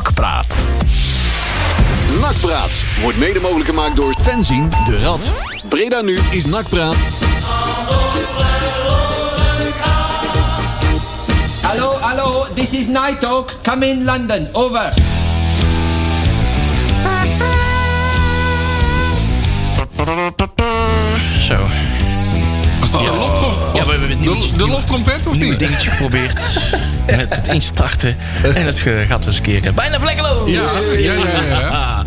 Nakpraat. Nakpraat wordt mede mogelijk gemaakt door Fenzien de Rad. Breda nu is Nakpraat. Hello, hello, this is Night Talk. Come in London. Over. Zo. Was dat de loftrom? Ja, we hebben het de, nieuwtje, de loftrompet of nieuwe niet? dingetje geprobeerd. met het instarten. En het ge- gaat dus een keer bijna vlekkeloos. Ja, ja, ja. ja, ja.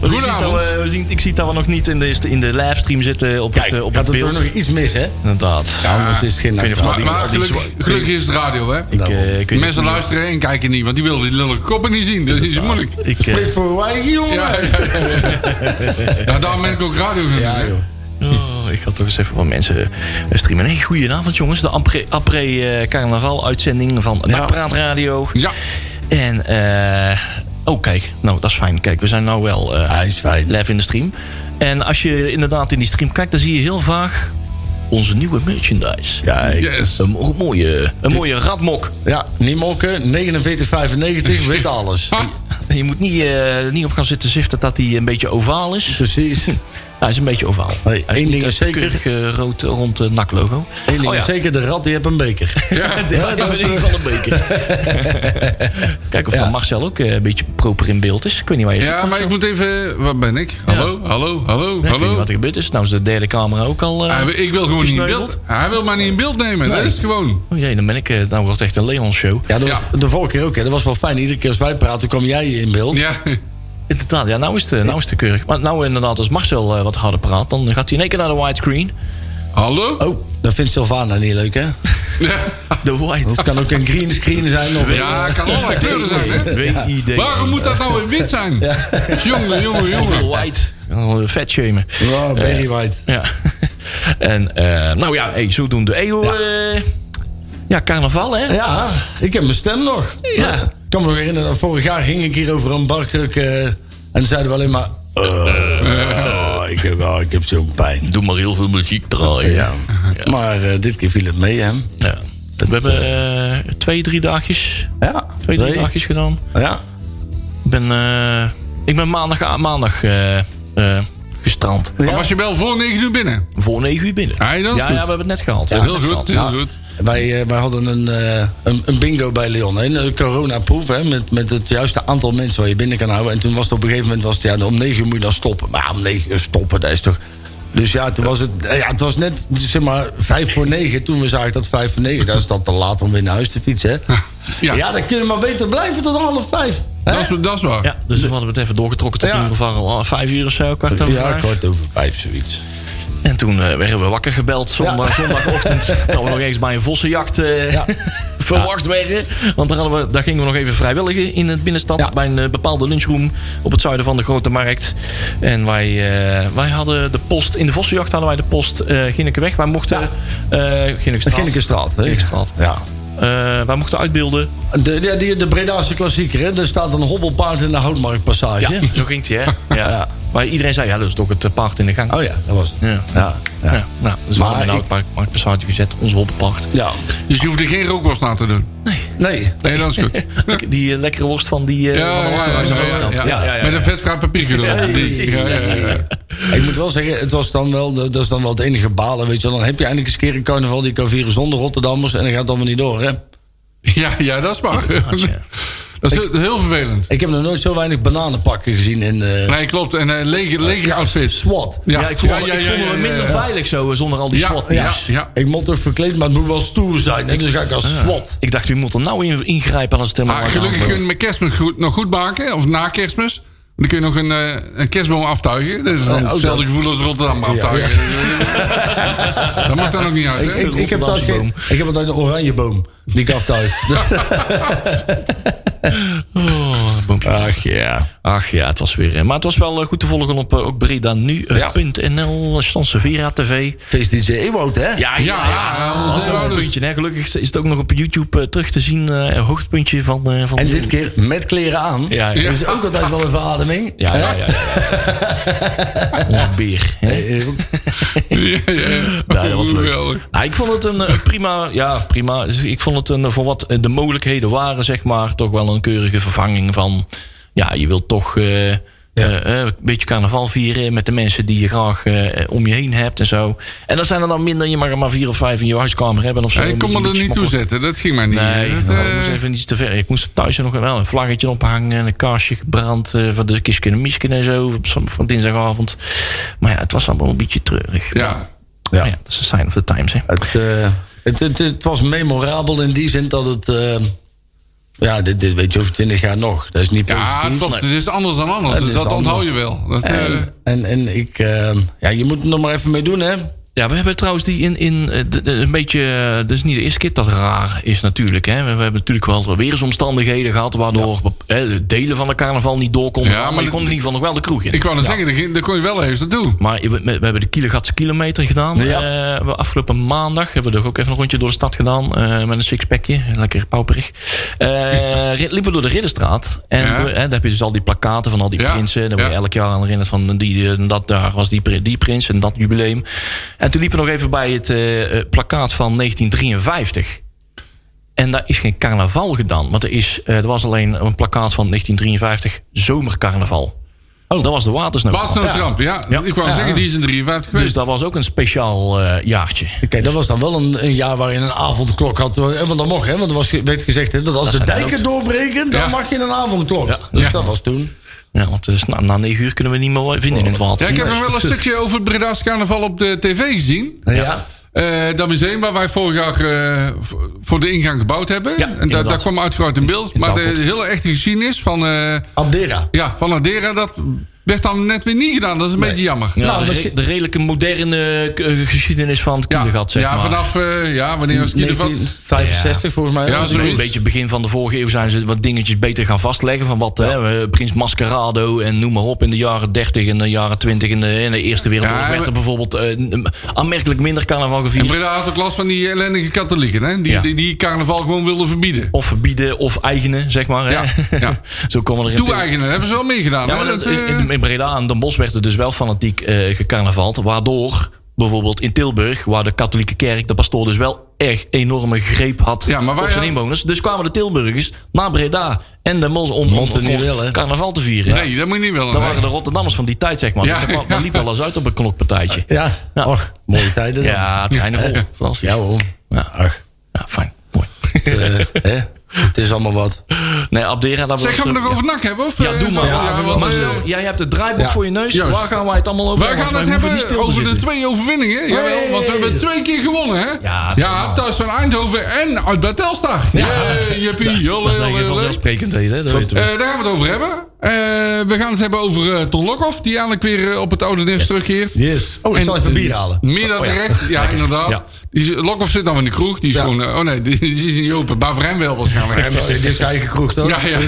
Want ik, zie het al, Oh, Goedenavond. eh, we zien, ik zie het al nog niet in de, in de livestream zitten op Kijk, het, eh, op gaat het er toch beeld. nog iets mis, hè? Inderdaad. Ja, anders is het geen Ik weet niet of nakpraat. die- Maar die- gelukkig, gelukkig is het radio, hè? Ik, eh, ik weet niet- Mensen luisteren en kijken niet, want die willen die lullige koppen niet zien. Dat is niet zo moeilijk. Ik, eh, Spreekt voor uw eigen jongen. Ja, ja, ja, ja. ja, daarom ben ik ook radio gaan Ja, doen, hè. joh. oh, ik ga toch eens even wat mensen eh, streamen. Hey, goedenavond jongens. De après- après-carnaval uitzending van Nakpraat Radio. Ja. En, eh. oh kijk, nou dat is fijn. Kijk, we zijn nou wel eh, Hij is fijn. live in de stream. En als je inderdaad in die stream kijkt, dan zie je heel vaag onze nieuwe merchandise. Kijk. Yes. Een mo- mooie, een mooie ratmok. Ja, niet mokken. 49,95 weet alles. Ah, En Je moet niet, eh, niet op gaan zitten ziften dat hij een beetje ovaal is. Precies. Hij is een beetje ovaal. Nee, hij één niet ding een is zeker. keurig eh, rood rond het naklogo. Eén ding Oh is ja. zeker, de rat die heeft een beker. ja. Ja, dat dat is is, in ieder geval een beker. Kijk of Ja. dan Marcel ook eh, een beetje proper in beeld is. Ik weet niet waar je zit, Ja, maar Marcel. ik moet even... Wat ben ik? Hallo, hallo, hallo, Ja, ik weet niet hallo. Ah, wat er gebeurd is. Nou is de derde camera ook al... eh, Hij wil- Ik wil gewoon niet in beeld... Gesneuveld? Hij wil mij niet in beeld nemen, dat is het gewoon. Oh jee, dan ben ik... eh, nou wordt het echt een Leon-show. ja, dat was Ja. de vorige keer ook. Hè. Dat was wel fijn. Iedere keer als wij praten, kwam jij in beeld. Ja, Inderdaad, ja, nou is het, eh, nou is het keurig. Maar nou inderdaad, als Marcel eh, wat harder praat... dan gaat hij in één keer naar de widescreen. hallo? Oh, dat vindt Sylvana niet leuk, hè? Ja, De wide... Het kan ook een green screen zijn. Of ja kan allerlei kleuren zijn, hè? W-I-D. Waarom moet dat nou weer wit zijn? Jongen, jongen, Veel jongen. white. Oh, Vet shamen. Wow, Oh, Barry White. Ja. En, eh, nou ja, hey, zodoende. Hey, hoe, eh, ja, carnaval, hè? Ja, ik heb mijn stem nog. Ja. Ik kan me nog herinneren, dat vorig jaar ging ik hier over een barkruk... eh, en dan zeiden we alleen maar... eh, oh, ik heb, oh, ik heb zo'n pijn. Doe maar heel veel muziek draaien. Ja. Maar eh, dit keer viel het mee, hè? Ja. We hebben eh, twee, drie dagjes. Ja. Twee, drie dagjes gedaan. Ja. Ik ben, eh, ik ben maandag, maandag eh, eh, gestrand. Maar was je wel voor 9 uur binnen? Voor negen uur binnen. Ah, dat is ja, goed. ja, we hebben het net gehaald. We Heel hebben het goed, net gehaald. heel goed. Wij, eh, wij hadden een, eh, een, een bingo bij Leon. hè, Een coronaproef, hè, met, met het juiste aantal mensen waar je binnen kan houden. En toen was het op een gegeven moment, was het, ja, om negen uur moet je dan stoppen. Maar ja, om negen uur stoppen, dat is toch... Dus ja, toen was het, eh, ja, het was net, zeg maar, vijf voor negen. Toen we zagen dat vijf voor negen, dat is dan te laat om weer naar huis te fietsen, hè? Ja. Ja, dan kun je maar beter blijven tot half vijf. hè? Dat is, dat is waar. Ja, dus we hadden het even doorgetrokken tot Ja. in ieder geval al vijf uur of zo, kwart over Ja, vijf. kort over vijf, zoiets. En toen eh, werden we wakker gebeld zondag, zondagochtend. dat we nog eens bij een vossenjacht eh, Ja. verwacht werden. Want daar, hadden we, daar gingen we nog even vrijwilligen in het binnenstad. Ja. Bij een eh, bepaalde lunchroom op het zuiden van de Grote Markt. En wij, eh, wij hadden de post, in de vossenjacht hadden wij de post eh Ginnekeweg. Wij mochten, eh Ginnekenstraat. Ginnekenstraat, hè? Ginnekenstraat. Ja. Eh, wij mochten uitbeelden. De, de, die- de Bredaanse klassieker, hè? Daar staat een hobbelpaard in de houtmarktpassage. Ja, zo ging het, hè? Ja. Ja. Maar iedereen zei, ja, dat is toch het eh, paard in de gang. Oh ja, dat was het. Ja. Ja. Ja. ja. nou, dus we Maar hadden een ik- oud park, parkpassage gezet, onze hoppenpacht. Ja. Dus je hoeft er geen rookwas na te doen. Nee. Nee, dat is goed. Die eh, lekkere worst van die... eh Ja, van de ja, Hoffer, ja, als je ja, het ja, vertelt. ja. Ja, ja, ja. Met een vetkraam papiertje erop. Ja, precies. Ja, ja, ja, ja. Ik moet wel zeggen, het was dan wel, dat is dan wel het enige balen. Weet je, wel. dan heb je eindelijk eens een keer een carnaval die kan vieren zonder Rotterdammers. En dan gaat het allemaal niet door, hè? Ja, ja, dat is waar. ja. Dat is heel vervelend. Ik heb nog nooit zo weinig bananenpakken gezien in eh Nee, klopt. En eh lege, lege outfits. SWAT. Ja, ik voel, ik voel me ja, minder ja. veilig zo eh, zonder al die Ja, SWAT. ja, teams. ja. Ik moet toch verkleed, maar het moet wel stoer zijn. hè? Dus ga ik als SWAT. Ik dacht, u moet er nou in, ingrijpen als het helemaal Maar maar Ah, gelukkig kunnen we kerstmis goed, nog goed maken. Of na kerstmis. Dan kun je nog een, eh, een kerstboom aftuigen. Dat is Eh, dan oh, Ja, ook hetzelfde gevoel als Rotterdam aftuigen. dat mag dan ook niet uit, Ik, hè? ik, ik heb thuis Rotterdamse geen, ik heb altijd een oranje boom die ik aftuig. Oh, boom. filmpjes. Ach ja. Ach ja, het was weer. eh, Maar het was wel eh, goed te volgen op eh, ook bredanu.nl, eh, Stan Severa TV. Feest DJ Ewout, hè? Ja, ja, ja, onze Als ouders. hoogtepuntje. hè. Gelukkig is het ook nog op YouTube eh, terug te zien. eh, een hoogtepuntje van. eh, van En de- dit keer met kleren aan. Ja, ja. Dat is ook altijd wel een verademing. Ja, ja, ja. ja, ja. Onze beer. Hè? Eh, Ja, ja. Ja, dat was leuk. Geweldig. Ja, ik vond het een eh, prima, ja, prima. Ik vond het een, eh, voor wat eh, de mogelijkheden waren, zeg maar, toch wel een keurige vervanging van. Ja, je wilt toch eh, eh, eh, een beetje carnaval vieren met de mensen die je graag eh, om je heen hebt en zo. En dat zijn er dan minder, je mag er maar vier of vijf in je huiskamer hebben of zo. Ja, ik kon me er Met je niet toe smokkelen. zetten, dat ging maar niet. Nee, Dat, nou, eh, ik moest even niet te ver. Ik moest thuis nog wel een vlaggetje ophangen en een kaarsje gebrand. eh van de kistje en misken en zo op, zam- van dinsdagavond. Maar ja, het was allemaal een beetje treurig. ja. Maar ja, dat is een sign of the times, hè. Het, eh, het, het, het was memorabel in die zin dat het... eh, ja, dit, dit weet je over twintig jaar nog. Dat is niet Ja, positief. het, was- het is anders dan anders. Het dus is dat anders. onthoud je wel. Dat, eh, En, en, en ik... eh, ja, je moet er nog maar even mee doen, hè? Ja, we hebben trouwens die in, in eh, de- de- een beetje. eh, Dat is niet de eerste keer dat het raar is, natuurlijk. Hè. We, we hebben natuurlijk wel weersomstandigheden gehad. waardoor bep- hè, de delen van de carnaval niet door konden. Ja, maar, maar je dat- kon in ieder geval nog wel de kroeg in. ik wou net zeggen, daar ging- daar kon je wel eens naartoe. maar we, we hebben de Kielegatse kilometer gedaan. Eh, we afgelopen maandag hebben we toch ook even een rondje door de stad gedaan. eh, met een sixpackje. Lekker pauperig. Eh, ri- liepen we door de Ridderstraat. En Ja. we- hè, daar heb je dus al die plakkaten van al die Ja, prinsen. Daar word je ja. elk jaar aan herinnerd van die, eh, dat, daar was die, pri- die prins en dat jubileum. En toen liepen we nog even bij het eh, eh, plakkaat van 1953. En daar is geen carnaval gedaan. Want er, is, eh, er was alleen een plakkaat van 1953 zomercarnaval. Oh. Dat was de watersnoodramp. Pas nou eens ramp, ja. Ja. Ik wou zeggen, die is in 53 Dus geweest. dat was ook een speciaal eh, jaartje. Kijk, dat was dan wel een, een jaar waarin een avondklok had. eh, Want dat mocht, hè? Want er was, ge- werd gezegd hè, dat als de zijn dijken doorbreken, dan Ja. mag je een avondklok. Ja. Dus Ja. dat was toen. Ja, want eh, na, na negen uur kunnen we niet meer vinden in het water. Ja, ik heb nog wel een stukje over het Breda's carnaval op de tv gezien. Ja. Eh, dat museum waar wij vorig jaar eh, v- voor de ingang gebouwd hebben. Ja, en dat, inderdaad. dat kwam uitgebreid in beeld. maar de, Dalfort. hele echte geschiedenis van, eh Abdera. ja, van Adera, dat werd dan net weer niet gedaan. Dat is een beetje jammer. Ja, Nou, de, misschien- de redelijke moderne eh, geschiedenis van het Ja, Kielegat, zeg ja, maar. vanaf, eh, ja, wanneer was het 1965 volgens mij. Ja, hè? zo- Een Zoiets. beetje begin van de vorige eeuw zijn ze wat dingetjes beter gaan vastleggen. Van wat hè, eh, Prins Mascarado en noem maar op in de jaren 30 en de jaren 20 en de, in de Eerste Wereldoorlog Ja, werd er maar- bijvoorbeeld eh, n- aanmerkelijk minder carnaval En gevierd. Breda had ook last van die ellendige katholieken, hè? Die, Ja. die, die carnaval gewoon wilden verbieden. Of verbieden of eigenen, zeg maar. hè. Ja, ja. Zo komen er in Til- Toe-eigenen hebben ze wel meegedaan. Ja, hè? maar dat, Dat, eh, in, in Breda en Den Bosch werd er dus wel fanatiek eh gecarnavald. Waardoor bijvoorbeeld in Tilburg, waar de katholieke kerk, de pastoor dus wel echt enorme greep had Ja, maar wij op zijn hadden- inwoners. Dus kwamen de Tilburgers naar Breda en Den Bosch om, om, Moet het niet willen. carnaval te vieren. nee, dat moet je niet willen. Dat nee. waren de Rotterdammers van die tijd, zeg maar. Ja. Dus dat kwam- dat liep wel eens uit op een knokpartijtje. Ja. Ja. Och, mooie tijden dan. Ja, treinen vol. Fantastisch. Ja, hoor. Ja. Ach, Ja, fijn. Mooi. eh, hè? Het is allemaal wat. Nee, Abdera... daar Zeg, was- gaan we nog over nak hebben? Of, Ja, eh, doe maar. ja, Ja, want, eh, Marcel, jij hebt het draaiboek ja, voor je neus. juist. Waar gaan wij het allemaal over Wij hebben? gaan Want het wij hoeven hebben niet stil te over de zitten. twee overwinningen. Jawel, want we hebben twee keer gewonnen, hè? Ja, thuis van Eindhoven en uit bij Telstar. Ja, jippie, jolle, Dat zijn geen vanzelfsprekendheden, hè, dat weten we. Eh, daar gaan we het over hebben. Eh, we gaan het hebben over eh, Ton Lokhoff, die eigenlijk weer eh, op het oude nest terugkeert. Yes. Oh, ik En- eh, zal even bier halen. Meer dan terecht, ja, inderdaad. Ja. Die is- Lokhoff zit dan in de kroeg. Die is Ja. gewoon, eh, oh nee, die, die is niet open. Bavrijn wel waarschijnlijk. En, eh, Dit is eigen kroeg, toch? ja, ja.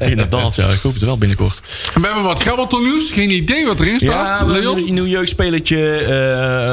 Inderdaad, ja. Ik hoop het wel binnenkort. En we hebben wat grabbelton-nieuws. Geen idee wat erin Ja, staat. Leon? een nieuw jeugdspelletje.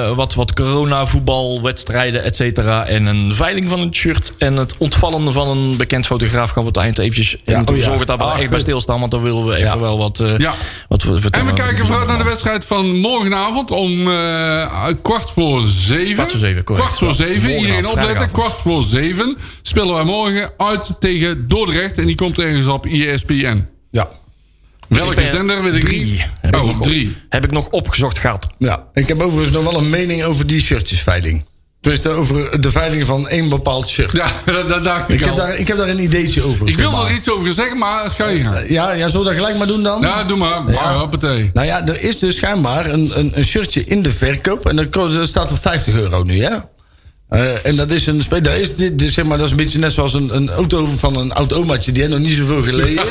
eh, wat, wat corona, voetbal, wedstrijden, et cetera. En een veiling van een shirt. En het ontvallen van een bekend fotograaf gaan we op het eind eventjes... Ja, moeten we ja. zorgen dat we daar Ah, echt bij goed. stilstaan. Want dan willen we even Ja. wel wat... eh, Ja. wat we En we kijken vooruit naar de wedstrijd. wedstrijd van morgenavond om eh, kwart voor zeven. Kwart voor zeven, correct. Kwart voor zeven. Morgenavond, Iedereen opletten. vrijdagavond. Kwart voor zeven spelen wij morgen uit tegen Dordrecht. En die komt ergens op E ESPN. Ja. E Welke zender weet ik Drie. niet. Heb, ik Oh, nog op- drie. heb ik nog opgezocht gehad. ja. Ik heb overigens nog wel een mening over die shirtjesveiling. Tenminste, over eh, de veiling van één bepaald shirt. Ja, dat, dat dacht ik, Ik, al. heb daar, ik heb daar een ideetje over. ik wil zeg maar. er iets over zeggen, maar ga je gaan. Ja, ja, zullen we dat gelijk maar doen dan? Ja, doe maar. Ja, hoppatee. Nou ja, er is dus schijnbaar een, een, een shirtje in de verkoop. En dat, kost- dat staat op 50 euro nu, hè? Eh, en dat is een spe- dat is, dit, dit- zeg maar, dat is een beetje net zoals een, een auto van een oud omaatje. Die heeft nog niet zoveel geleden.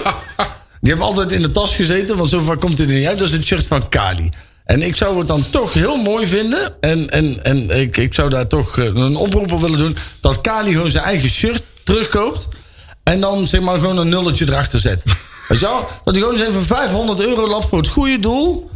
die hebben altijd in de tas gezeten, want zover komt hij er niet uit. Dat is het shirt van Kali. En ik zou het dan toch heel mooi vinden. En, en, en ik, ik zou daar toch eh, een oproep op willen doen. Dat Kali gewoon zijn eigen shirt terugkoopt. En dan zeg maar gewoon een nulletje erachter zet. Weet je wel? Dat hij gewoon eens even 500 euro lapt voor het goede doel.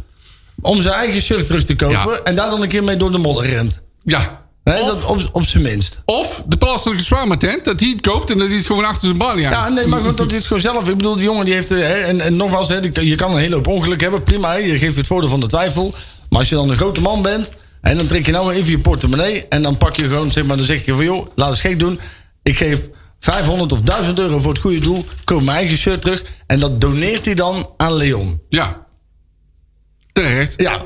Om zijn eigen shirt terug te kopen. Ja. En daar dan een keer mee door de modder rent. Ja. Hè, dat op, op zijn minst. Of de plaatselijke zwaarmatent, dat hij het koopt en dat hij het gewoon achter zijn balie Ja, hangt. nee, maar goed, dat hij het gewoon zelf. Ik bedoel, die jongen die heeft. eh, Hè, en, en nogmaals, hè, die- je kan een hele hoop ongeluk hebben. Prima, hè, je geeft het voordeel van de twijfel. Maar als je dan een grote man bent. En dan trek je nou even je portemonnee. En dan pak je gewoon, zeg maar, dan zeg je van joh, laat eens gek doen. Ik geef 500 of 1000 euro voor het goede doel. Koop mijn eigen shirt terug. En dat doneert hij dan aan Leon. Ja. Terecht. Ja,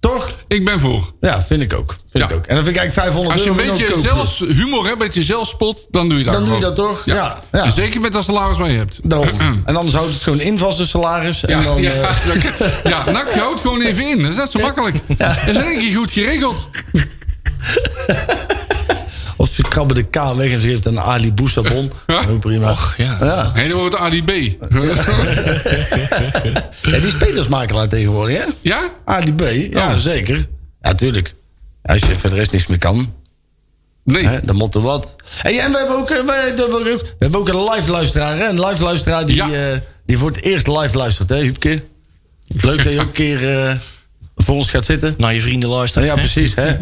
toch? Ik ben voor. Ja, vind ik ook. Vind Ja. ik ook. En dan vind ik eigenlijk 500 Als je een euro. voor beetje een koopclub. zelfs humor hebt, een beetje zelfspot, dan doe je dat Dan doe je gewoon. dat toch? Ja, ja. En Zeker met dat salaris waar je hebt. Daarom. En anders houdt het gewoon in vast de salaris. Ja, en dan, ja, eh, ja, ja, nou, je houdt gewoon even in. Dat is net zo makkelijk. Dat is in één keer goed geregeld. Of ze krabben de K weg en ze geeft een Ali Boussa bon. Heel prima. Och, ja. Ja. Hé, dan wordt het Ali B. Ja, die is Petersmakelaar tegenwoordig, hè? Ja? Ali B, ja, Oh. zeker. Ja, tuurlijk. Als je voor de rest niks meer kan, Nee. hè, dan moet er wat. Hey, en we hebben ook, eh, we, hebben ook- we hebben ook een live luisteraar, hè? Een live luisteraar die, Ja. eh, die voor het eerst live luistert, hè, Huubke? Leuk dat je ook een keer eh, voor ons gaat zitten. Naar je vrienden luisteren. Ja, hè? precies, hè?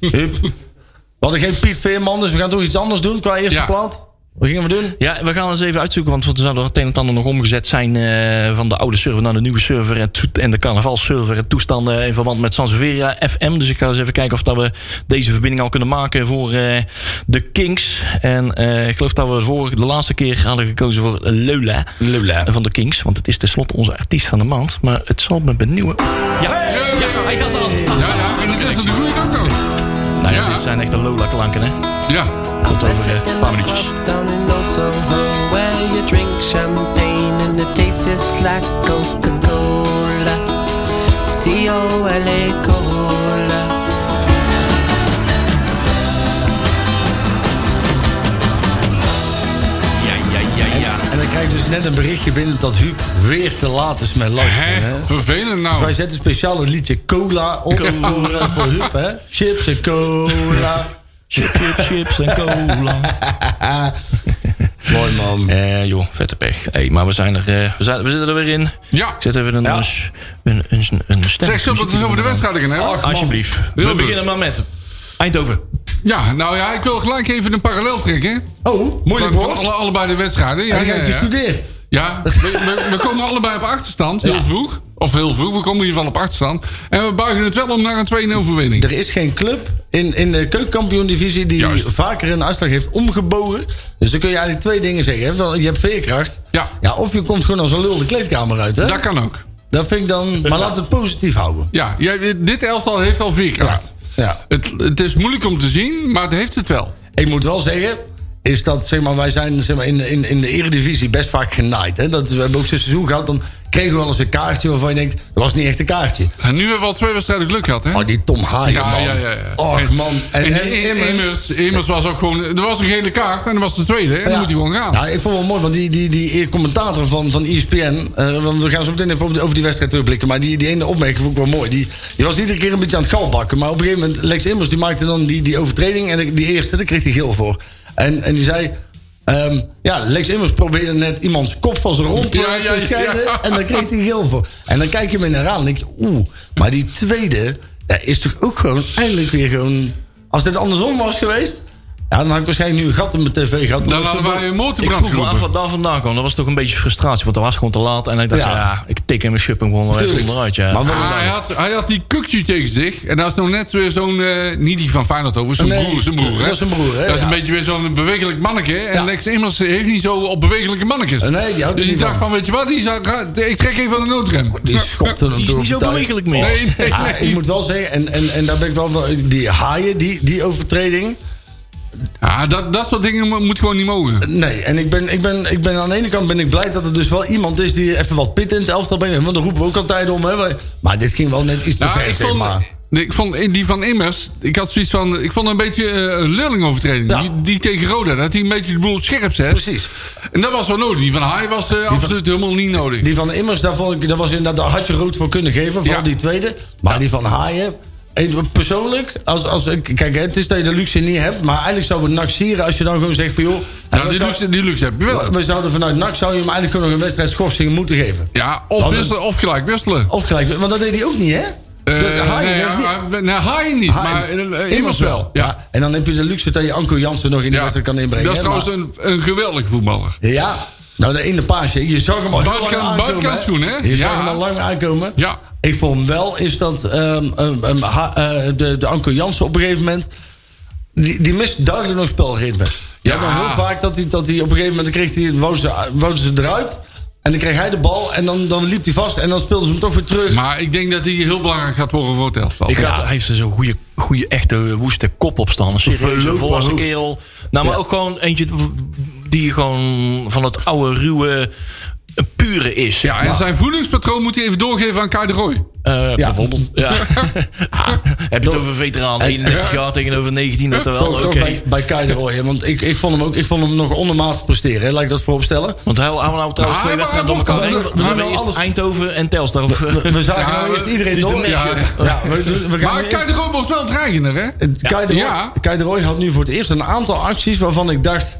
Huub. We hadden geen Piet Veerman, dus we gaan toch iets anders doen qua eerste Ja. plaat. Wat gingen we doen? Ja, we gaan eens even uitzoeken, want er zou er het een en het ander nog omgezet zijn eh, van de oude server naar de nieuwe server en, toe- en de carnavalserver en toestanden in verband met Sansevieria FM. Dus ik ga eens even kijken of dat we deze verbinding al kunnen maken voor eh, de Kings. En eh, ik geloof dat we vorige, de laatste keer hadden gekozen voor Leula Lula. van de Kings, want het is tenslotte onze artiest van de maand. Maar het zal me benieuwen. Ja, ja hij gaat aan. Ja, ja. En het is de goede ook nog. Nou ja, Ja. dit zijn echt de Lola-klanken, hè. Ja. Tot over eh, Take a een paar minuutjes. hop Down in old Soho, where you drink champagne and the taste is like Coca-Cola. C-O-L-A E Cola. En dan krijg ik dus net een berichtje binnen dat Huub weer te laat is met luisteren. Hè? Hè? Vervelend nou. Dus wij zetten speciaal het liedje cola op voor, eh, voor Huub. Hè? Chips en cola. Chips, chips, chips en cola. Mooi man. Eh, joh, vette pech. Hey, maar we zijn er, eh, we, zijn, we zitten er weer in. Ja. Ik zet even een, Ja. een, s- een, een, een stem. Zeg, zullen we het eens over de wedstrijd gaan hebben? Alsjeblieft. Heel we goed. beginnen maar met Eindhoven. Ja, nou ja, ik wil gelijk even een parallel trekken. Oh, moeilijk Van- van woord. alle- allebei de wedstrijden. Ja, Hij ja, heeft ja. gestudeerd. Ja, we, we- we komen allebei op achterstand. Heel vroeg. Of heel vroeg, we komen in ieder geval op achterstand. En we buigen het wel om naar een 2-0 overwinning. Er is geen club in, in de keukenkampioen-divisie die Juist. vaker een uitslag heeft omgebogen. Dus dan kun je eigenlijk twee dingen zeggen. hè. Van, Je hebt veerkracht. Ja. ja. Of je komt gewoon als een lul de kleedkamer uit. Hè? Dat kan ook. Dat vind ik dan... Maar laten we het positief houden. Ja, jij- dit elftal heeft wel veerkracht. Ja, ja. Het, het is moeilijk om te zien, maar het heeft het wel. Ik moet wel zeggen, is dat, zeg maar, wij zijn zeg maar, in, in, in de eredivisie best vaak genaaid. Hè? Dat, is- we hebben ook zo'n seizoen gehad, dan kregen we wel eens een kaartje waarvan je denkt... dat was niet echt een kaartje. En nu hebben we al twee wedstrijden geluk gehad, hè? Oh, die Tom Haaien, Ja, man. ja, ja, ja. Och, man. En, En, en, Immers. Immers, Immers was ook gewoon... Er was een gele kaart en er was de tweede. En Ja. dan moet hij gewoon gaan. Nou, ik vond het wel mooi, want die, die, die commentator van, van ESPN... eh, want we gaan zo meteen even over, over die wedstrijd terugblikken... maar die, die ene opmerking vond ik wel mooi. Die, die was iedere keer een beetje aan het galbakken... maar op een gegeven moment, Lex Immers die maakte dan die, die overtreding... en die- die eerste, daar kreeg hij geel voor. En, en die zei... ehm, ja, Lex Immers probeerde net iemands kop van zijn romp eh, Ja, ja, te ja. scheiden... en daar kreeg hij geel voor. En dan kijk je me naar aan en denk je... oeh, maar die tweede ja, is toch ook gewoon eindelijk weer gewoon... als dit andersom was geweest... ja, dan had ik waarschijnlijk nu een gat in mijn tv gehad. Dan hadden wij een Ik motorbrand vroeg me af geroepen. wat daar vandaan kwam. Dat was toch een beetje frustratie, want dat was gewoon te laat. En ik dacht, Ja. ja, ik tik in mijn ship en gewoon er even Tuurlijk. onderuit. Ja. Maar wat- Ah, hij, had, hij had die kukje tegen zich. En dat is nog net weer zo'n... eh, niet die van Feyenoord over, zijn Nee, broer. Zijn broer hè? dat is zijn broer, hè, Dat is een ja. beetje weer zo'n bewegelijk manneke. En Ja. Lex Immers heeft niet zo op bewegelijke mannetjes. Nee, die houdt dus er ik niet dacht van. Oh, van, weet je wat? Die zou- ga- ik trek even aan de noodrem. Die schopte hem die is door niet zo de tuin. bewegelijk meer. Nee, nee, nee. Ja, ik moet wel zeggen, en, en, en daar ben ik wel van. Die haaien, die, die overtreding. Ah, dat, dat soort dingen mo- moet gewoon niet mogen. Nee, en ik ben, ik, ben, ik ben aan de ene kant ben ik blij dat er dus wel iemand is die even wat pit in het elftal brengt. Want daar roepen we ook altijd om. Hè. Wij- Maar dit ging wel net iets te Nou, ver, ik zeg vond, maar. nee, ik vond in die van Immers, ik had zoiets van, ik vond een beetje eh, een leerlingovertreding. Ja. Die, die tegen Roda, dat hij een beetje de boel op scherp zet. Precies. En dat was wel nodig. Die van Haai was eh, absoluut helemaal niet nodig. Die van Immers, daar, vond ik, daar, was inderdaad, daar had je rood voor kunnen geven. Vooral Ja. die tweede. Maar die van haaien. En Persoonlijk, als, als, ik- kijk, het is dat je de luxe niet hebt. Maar eigenlijk zou het NAC sieren als je dan gewoon zegt van... joh, Nou, we, die, zou- luxe, die luxe heb je wel. we zouden vanuit NAC zou je hem eigenlijk gewoon nog een wedstrijd schorsing moeten geven. Ja, of Dan- wisselen, of gelijk wisselen. Of gelijk, want dat deed hij ook niet, hè? De- Eh, de Haaien nee, deed niet. ja, nee, Haaien niet, Haaien. maar eh, immers wel. Ja. Ja, En dan heb je de luxe dat je Anko Jansen nog in de Ja. wedstrijd kan inbrengen. Dat is hè, trouwens een, een geweldig voetballer. maar- Ja, nou de ene paasje. Je zag hem al heel Buitenkant- lang aankomen, buitenkantschoen, hè? Je zag Ja. hem al lang aankomen. Ja. Ik vond wel is dat ehm, ehm, ehm, ha- eh, de, de Anko Jansen op een gegeven moment... Die, die mist duidelijk nog spelritme. Ja. Ja. dan heel vaak dat hij, dat hij op een gegeven moment... Dan kreeg hij, wouden ze, wouden ze eruit. En dan kreeg hij de bal. En dan, dan liep hij vast. En dan speelden ze hem toch weer terug. Maar ik denk dat hij heel belangrijk gaat worden voor het elftal. Ik had, hij heeft dus een goede, goede echte woeste kop op staan. Een serieuze Verlopen volwassen hoofd. kerel. Nou, maar Ja. ook gewoon eentje die gewoon van het oude, ruwe, eh, pure is. Ja, en zijn voedingspatroon moet hij even doorgeven aan Kai de Roy. Eh, Bijvoorbeeld. Ja. Ah, heb je het over veteraan? En- 31 jaar tegenover 19, dat wel. Toch, Oh, Oké. toch bij, bij Kai de Roy, hè, Want ik, ik, vond hem ook, ik vond hem nog ondermaats presteren. Hè. Laat ik dat vooropstellen. Want hij had nou trouwens Ah, twee maar wedstrijden hij door elkaar. wordt- Nee, we- we we hebben doen eerst alles. Eindhoven en Telstar. We zagen Ja, nou we- eerst iedereen dus de door. match, Ja, ja. ja, we, we gaan Maar weer- Kai de Roy wordt wel dreigender, hè? Eh, Kai de, Roy, Ja. Kai de Roy had nu voor het eerst een aantal acties waarvan ik dacht...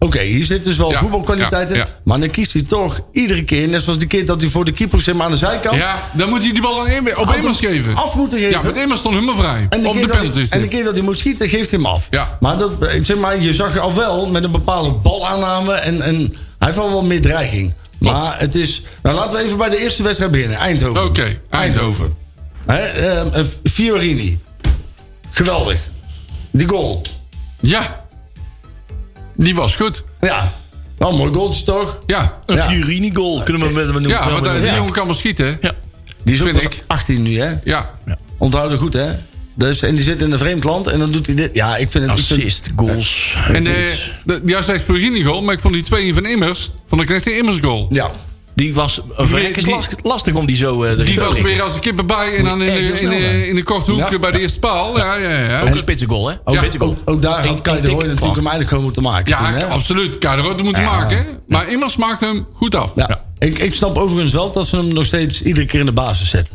Oké, hier zit dus wel Ja, voetbalkwaliteit in. ja, ja. Maar dan kiest hij toch iedere keer... net zoals de keer dat hij voor de keeper zeg maar, aan de zijkant... Ja, dan moet hij die bal aan Em- op had Immers hem geven. af moeten geven. Ja, met Immers stond helemaal vrij. en de, Op keer de dat penalty hij, is en de dit. keer dat hij moet schieten, geeft hij hem af. Ja. Maar, dat, ik zeg maar je zag al wel met een bepaalde balaanname... en, en hij heeft al wel meer dreiging. Maar het is... Nou, laten we even bij de eerste wedstrijd beginnen. Eindhoven. Oké, Eindhoven. Hè, ehm, eh, Fiorini. Geweldig. Die goal. Ja. Die was goed. Ja. Wel een mooi goaltje toch? Ja. Een Ja. Fiorini goal kunnen we met hem doen. Ja, want eh, die ja. jongen kan wel schieten. hè? Ja. Die is ook Vind pas ik. 18 nu, hè? Ja. Onthoud het goed, hè? Dus, en die zit in een vreemd land en dan doet hij dit. Ja, ik vind het... ik vind- Assist, goals. En goals. eh de, jij zegt Fiorini goal, maar ik vond die twee van Immers, vond ik echt een Immers goal. ja. Die was Verrek is die- last- lastig om die zo eh, erin Die te was prikken. weer als een kippen bij en dan in, Erg heel de- in, snel de, zijn. in de korte hoek Ja. eh, bij de eerste paal. Ja, ja, ja. Ook een spitsengoal, hè? Oh, Ja. Spitsengoal. Ook, ook daar had Eén- Kai één de Hoorn tik- natuurlijk hem eigenlijk gewoon moeten maken. Ja, toen, hè? absoluut. Kader Rood moeten Ja. maken. hè. Maar Immers maakt hem goed af. Ja. Ik, ik snap overigens wel dat ze hem nog steeds iedere keer in de basis zetten.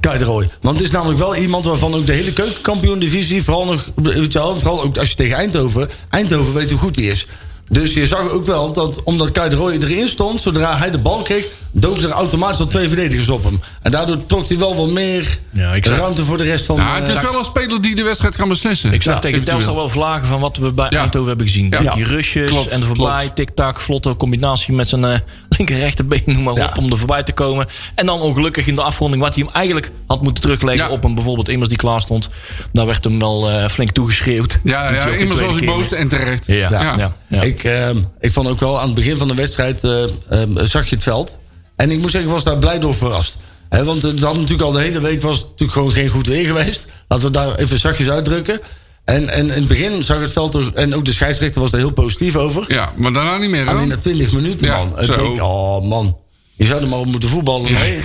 Kai de Roy. Want het is namelijk wel iemand waarvan ook de hele keukenkampioen-divisie... vooral nog, weet je wel, vooral ook als je tegen Eindhoven... Eindhoven weet hoe goed hij is. Dus je zag ook wel dat omdat Kai de Roy erin stond... zodra hij de bal kreeg, dook er automatisch al twee verdedigers op hem. En daardoor trok hij wel wat meer Ja, ik zag- ruimte voor de rest van... Ja, Nou, het is eh, wel een speler die de wedstrijd kan beslissen. Ik zag Ja, tegen eventueel. Telstar wel vlagen van wat we bij Ja. Eindhoven hebben gezien. Ja. Die rushes Klopt, en de voorbij, klopt. tik-tak, vlotte combinatie met zijn eh, linker rechterbeen, noem maar Ja. op, om er voorbij te komen. En dan ongelukkig in de afronding, wat hij hem eigenlijk had moeten terugleggen Ja. op een bijvoorbeeld Immers die klaar stond. Daar werd hem wel eh, flink toegeschreeuwd. Ja, Doet ja, hij ook de Immers tweede was ik keer boos weer. en terecht. Ja, ja. ja, Ik, ehm, ik vond ook wel aan het begin van de wedstrijd eh, ehm, zag je het veld. En ik moet zeggen, ik was daar blij door verrast. Hè, want het had natuurlijk al de hele week was het natuurlijk gewoon geen goed weer geweest. Laten we daar even zachtjes uitdrukken. En, en in het begin zag het veld er, en ook de scheidsrechter was daar heel positief over. Ja, maar daarna niet meer. hè? Alleen na 20 minuten, Ja, man. Het zo. leek- oh man, je zou er maar op moeten voetballen. Nee.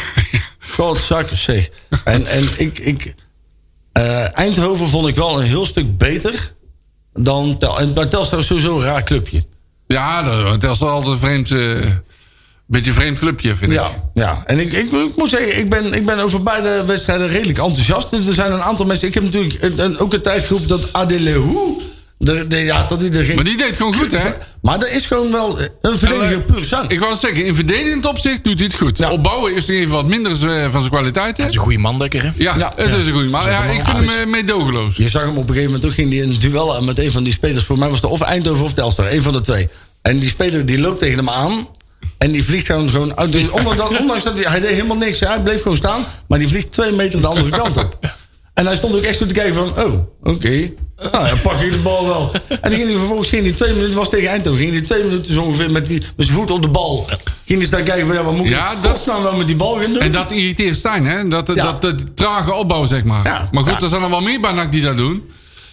Godzakkers, zeg. En, en ik... ik eh, Eindhoven vond ik wel een heel stuk beter dan... Tel, en, maar Telstar is sowieso een raar clubje. Ja, dat, dat is altijd een vreemd, eh, beetje een vreemd clubje, vind ik. Ja, ja. en ik, ik, ik moet zeggen, ik ben, ik ben over beide wedstrijden redelijk enthousiast. Dus er zijn een aantal mensen. Ik heb natuurlijk een- een- ook een tijdgroep dat Adelehu. De, de, ja, dat hij er geen. Maar die deed gewoon goed, hè? Maar dat is gewoon wel een verdediger Eh, puur zang. Ik wou het zeggen, in verdedigend opzicht doet hij het goed. Ja. Opbouwen is er even wat minder eh, van zijn kwaliteit, hè? Dat is een goede man, Dekker, hè? Ja, Ja. het is een goede. Maar ja, ik vind hem eh, meedogenloos. Je zag hem op een gegeven moment ook ging die in een duel aan met een van die spelers. Voor mij was het of Eindhoven of Telstar, een van de twee. En die speler die loopt tegen hem aan. En die vliegt gewoon, gewoon uit. Dus ondanks dat, ondanks dat hij, hij deed helemaal niks. Hij bleef gewoon staan. Maar die vliegt twee meter de andere kant op. En hij stond ook echt zo te kijken van... Oh, oké. Nou, dan pak ik de bal wel. En dan ging hij vervolgens ging hij twee minuten... was tegen Eindhoven. Ging hij twee minuten zo ongeveer met, die, met zijn voet op de bal. Ging hij staan kijken van... Ja, wat moet ik Ja, in dat- godsnaam nou met die bal gaan doen? En dat irriteert Stijn, hè? Dat, Ja. dat, dat trage opbouw, zeg maar. Ja. Maar goed, Ja. er zijn er wel meer bij NAC die dat doen.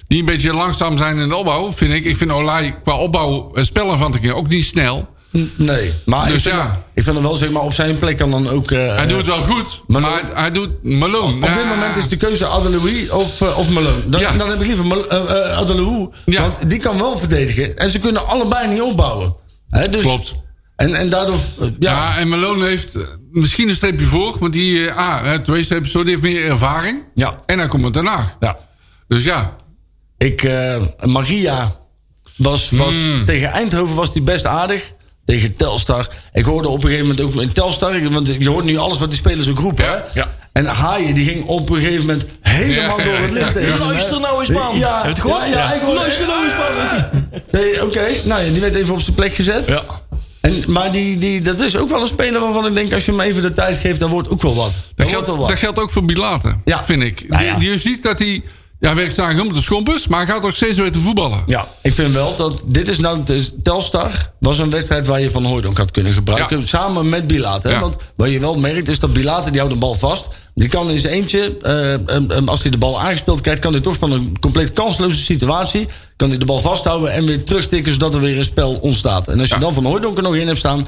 Die een beetje langzaam zijn in de opbouw, vind ik. Ik vind Olij qua opbouw eh, spellen van te keer ook niet snel. Nee. Maar Dus ik, vind ja. hem- ik vind hem wel zeg maar op zijn plek kan dan ook... eh, Hij doet het wel goed, maar, Malone. hij doet Malone. Op dit moment is de keuze Adelouis of, eh, of Malone. Dan, Nou. Ja. dan heb ik liever Mal- eh, eh, Adelouis. Ja. Want die kan wel verdedigen. En ze kunnen allebei niet opbouwen. Hè, dus, Klopt. En, en daardoor... eh, Ja, Ja, en Malone heeft eh, misschien een streepje voor. Want die, eh, ah, eh, twee streepjes voor, die heeft meer ervaring. Ja. En hij komt er daarna. ja. Dus ja. Ik, eh, Maria was, was Hmm. tegen Eindhoven was die best aardig. Tegen Telstar. Ik hoorde op een gegeven moment ook in Telstar, ik- want je hoort nu alles wat die spelers ook roepen. Ja, hè? ja. En Haaien die ging op een gegeven moment helemaal Ja, door ja, het ja. lint tegen hem, hè? Luister nou eens, man. Ja, Heb je het gehoord? Ja, ja, Ja. ik hoorde- Luister nou eens, man. Nee, Oké, nou ja, die werd even op zijn plek gezet. Ja. En, maar die, die, dat is ook wel een speler waarvan ik denk, als je hem even de tijd geeft, dan wordt ook wel wat. Dat, Dan wordt geldt, wel wat. dat geldt ook voor Bilater, Ja. vind ik. Nou ja. Die- Je ziet dat hij... Ja, werkt zagen om de schompers, maar hij gaat ook steeds weten voetballen. Ja, ik vind wel dat dit is nou... dus Telstar was een wedstrijd waar je Van Hooydonk had kunnen gebruiken. Ja. Samen met Bilate. Ja. Want wat je wel merkt is dat Bilate, die houdt de bal vast. Die kan in zijn eentje, eh, em, em, als hij de bal aangespeeld krijgt... kan hij toch van een compleet kansloze situatie... kan hij de bal vasthouden en weer terugtikken... zodat er weer een spel ontstaat. En als je Ja. dan Van Hooydonk er nog in hebt staan... eh,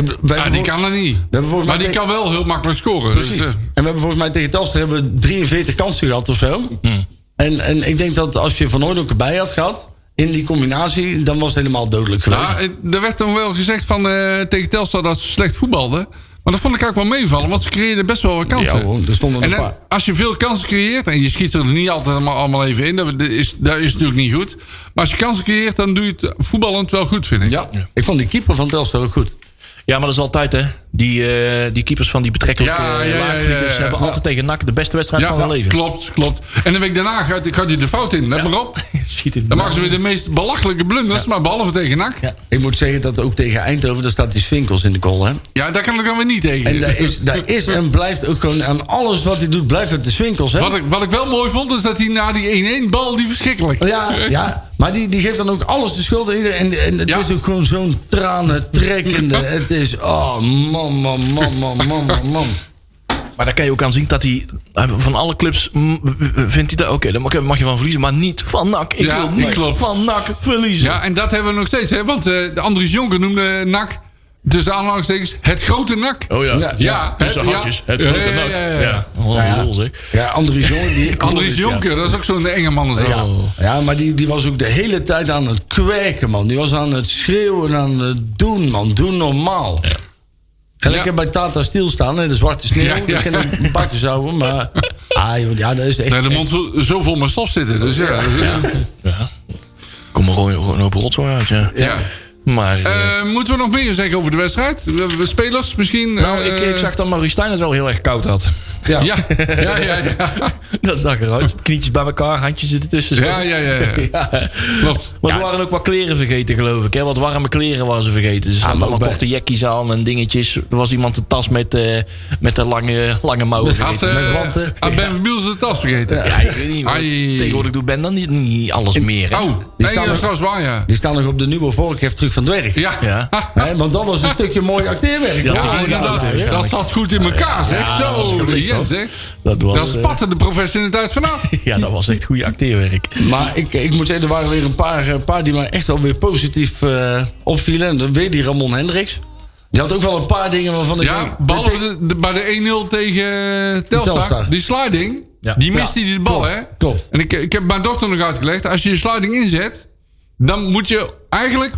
Ja, die bijvoorbeeld- kan er niet. hebben volgens Maar mij die tegen- kan wel heel makkelijk scoren. Precies. Dus, eh, En we hebben volgens mij tegen Telstra hebben we 43 kansen gehad of zo. Hmm. En, en ik denk dat als je Van Hooydonk erbij had gehad... in die combinatie, dan was het helemaal dodelijk geweest. Ja, eh, er werd dan wel gezegd van, eh, tegen Telstar dat ze slecht voetbalden. Maar dat vond ik eigenlijk wel meevallen, want ze creëerden best wel wat kansen. Ja, hoor, er stonden en een dan- paar. als je veel kansen creëert, en je schiet er niet altijd allemaal, allemaal even in, dat is, dat is natuurlijk niet goed. Maar als je kansen creëert, dan doe je het voetballend wel goed, vind ik. Ja. ik vond die keeper van Telstra ook goed. Ja, maar dat is altijd, hè. Die, eh, die keepers van die betrekkelijke Ja, ja, ja, eh, ja, laagvliegers... ja, ja. hebben Ja. altijd tegen NAC de beste wedstrijd Ja, van hun leven. klopt, klopt. En de week daarna gaat, gaat hij de fout in, let maar op. Schiet in de Dan maken ze weer de meest belachelijke blunders, maar behalve tegen NAC. Ja, Ik moet zeggen dat ook tegen Eindhoven, daar staat die Swinkels in de goal. Hè? daar kan ik dan weer niet tegen. En daar is, daar is en blijft ook gewoon aan alles wat hij doet, blijft het de Swinkels. Hè? Wat ik, wat ik wel mooi vond, is dat hij na die 1-1 bal die verschrikkelijk. Ja, ja, maar die, die geeft dan ook alles de schuld aan iedereen. En, en het Ja. is ook gewoon zo'n tranentrekkende. Het is, oh man, man, man, man, man, man, man. Maar daar kan je ook aan zien dat hij hij- van alle clubs mm, vindt hij dat oké, dan mag- mag je van verliezen, maar niet van NAC. Ik Ja, wil dat niet klopt. van NAC verliezen. Ja, en dat hebben we nog steeds, hè? Want eh, de Andries Jonker noemde NAC tussen aanhalingstekens het grote NAK. Oh ja. Ja, ja, tussen hè, haakjes. ja. Het grote Ja, ja, NAC. ja, ja. Wat een Nou Ja. lul, zeg. Ja, Andries Jonker. Die, Andries Jonker, dat is ook zo'n enge man. als dat. Ja, ja maar die, die was ook de hele tijd aan het kwerken, man. Die was aan het schreeuwen, aan het doen, man. Doe normaal. En Ja. ik heb bij Tata Steel staan, in de zwarte sneeuw. Ja, ja. Ik ken een bakjes houden, maar... Ah, joh, ja, dat is echt... Nee, de mond zo- zo vol met stof zitten. Dus ja. dat is- Ja. Kom maar gewoon gewoon een hoop rotzooi uit, ja. ja. Maar... eh, Eh, moeten we nog meer zeggen over de wedstrijd? We- we- Spelers misschien? nou, eh, ik, ik zag dat Maurice Stijn het wel heel erg koud had. Ja. Ja, ja, ja. ja. Dat zag eruit. Knietjes bij elkaar, handjes ertussen. zo. Ja, ja, ja, ja. Ja. Klopt. Maar ze waren ook wat kleren vergeten, geloof ik. Hè? Wat warme kleren waren ze vergeten. Ze hadden maar ook allemaal bij- korte jekkies aan en dingetjes. Er was iemand een tas met, eh, met de lange, lange mouwen. Had, vergeten. eh, wanten. had Ben van Biel zijn tas vergeten? Ja, ik weet niet. maar Ai. Tegenwoordig doet Ben dan niet, niet alles meer. Hè? Oh, Die nee, staan dat er- is trouwens waar, ja. Die staan nog op de nieuwe voorkeur terug van Dwerg. Ja, Ja. Hè, want dat was een stukje mooi acteerwerk. Ja, man. Ja, Ja, dat, natuurlijk, ja. dat zat goed in elkaar, zeg. Ja, dat was Zo, gelukt, Jens, hoor. zeg. Dat was, Daar eh, spatte de professionaliteit vanaf. Ja, dat was echt goede acteerwerk. Maar ik, ik moet zeggen, er waren weer een paar, eh, paar die mij echt wel weer positief eh, opvielen. En dan weer die Ramon Hendricks. Die had ook wel een paar dingen waarvan ik... Ja, denk, behalve de, de- bij de 1-0 tegen eh, Telstar. Telstar. Die sliding, Ja. die miste Ja, die de bal, klopt, hè? klopt. En ik, ik heb mijn dochter nog uitgelegd. Als je je sliding inzet, dan moet je eigenlijk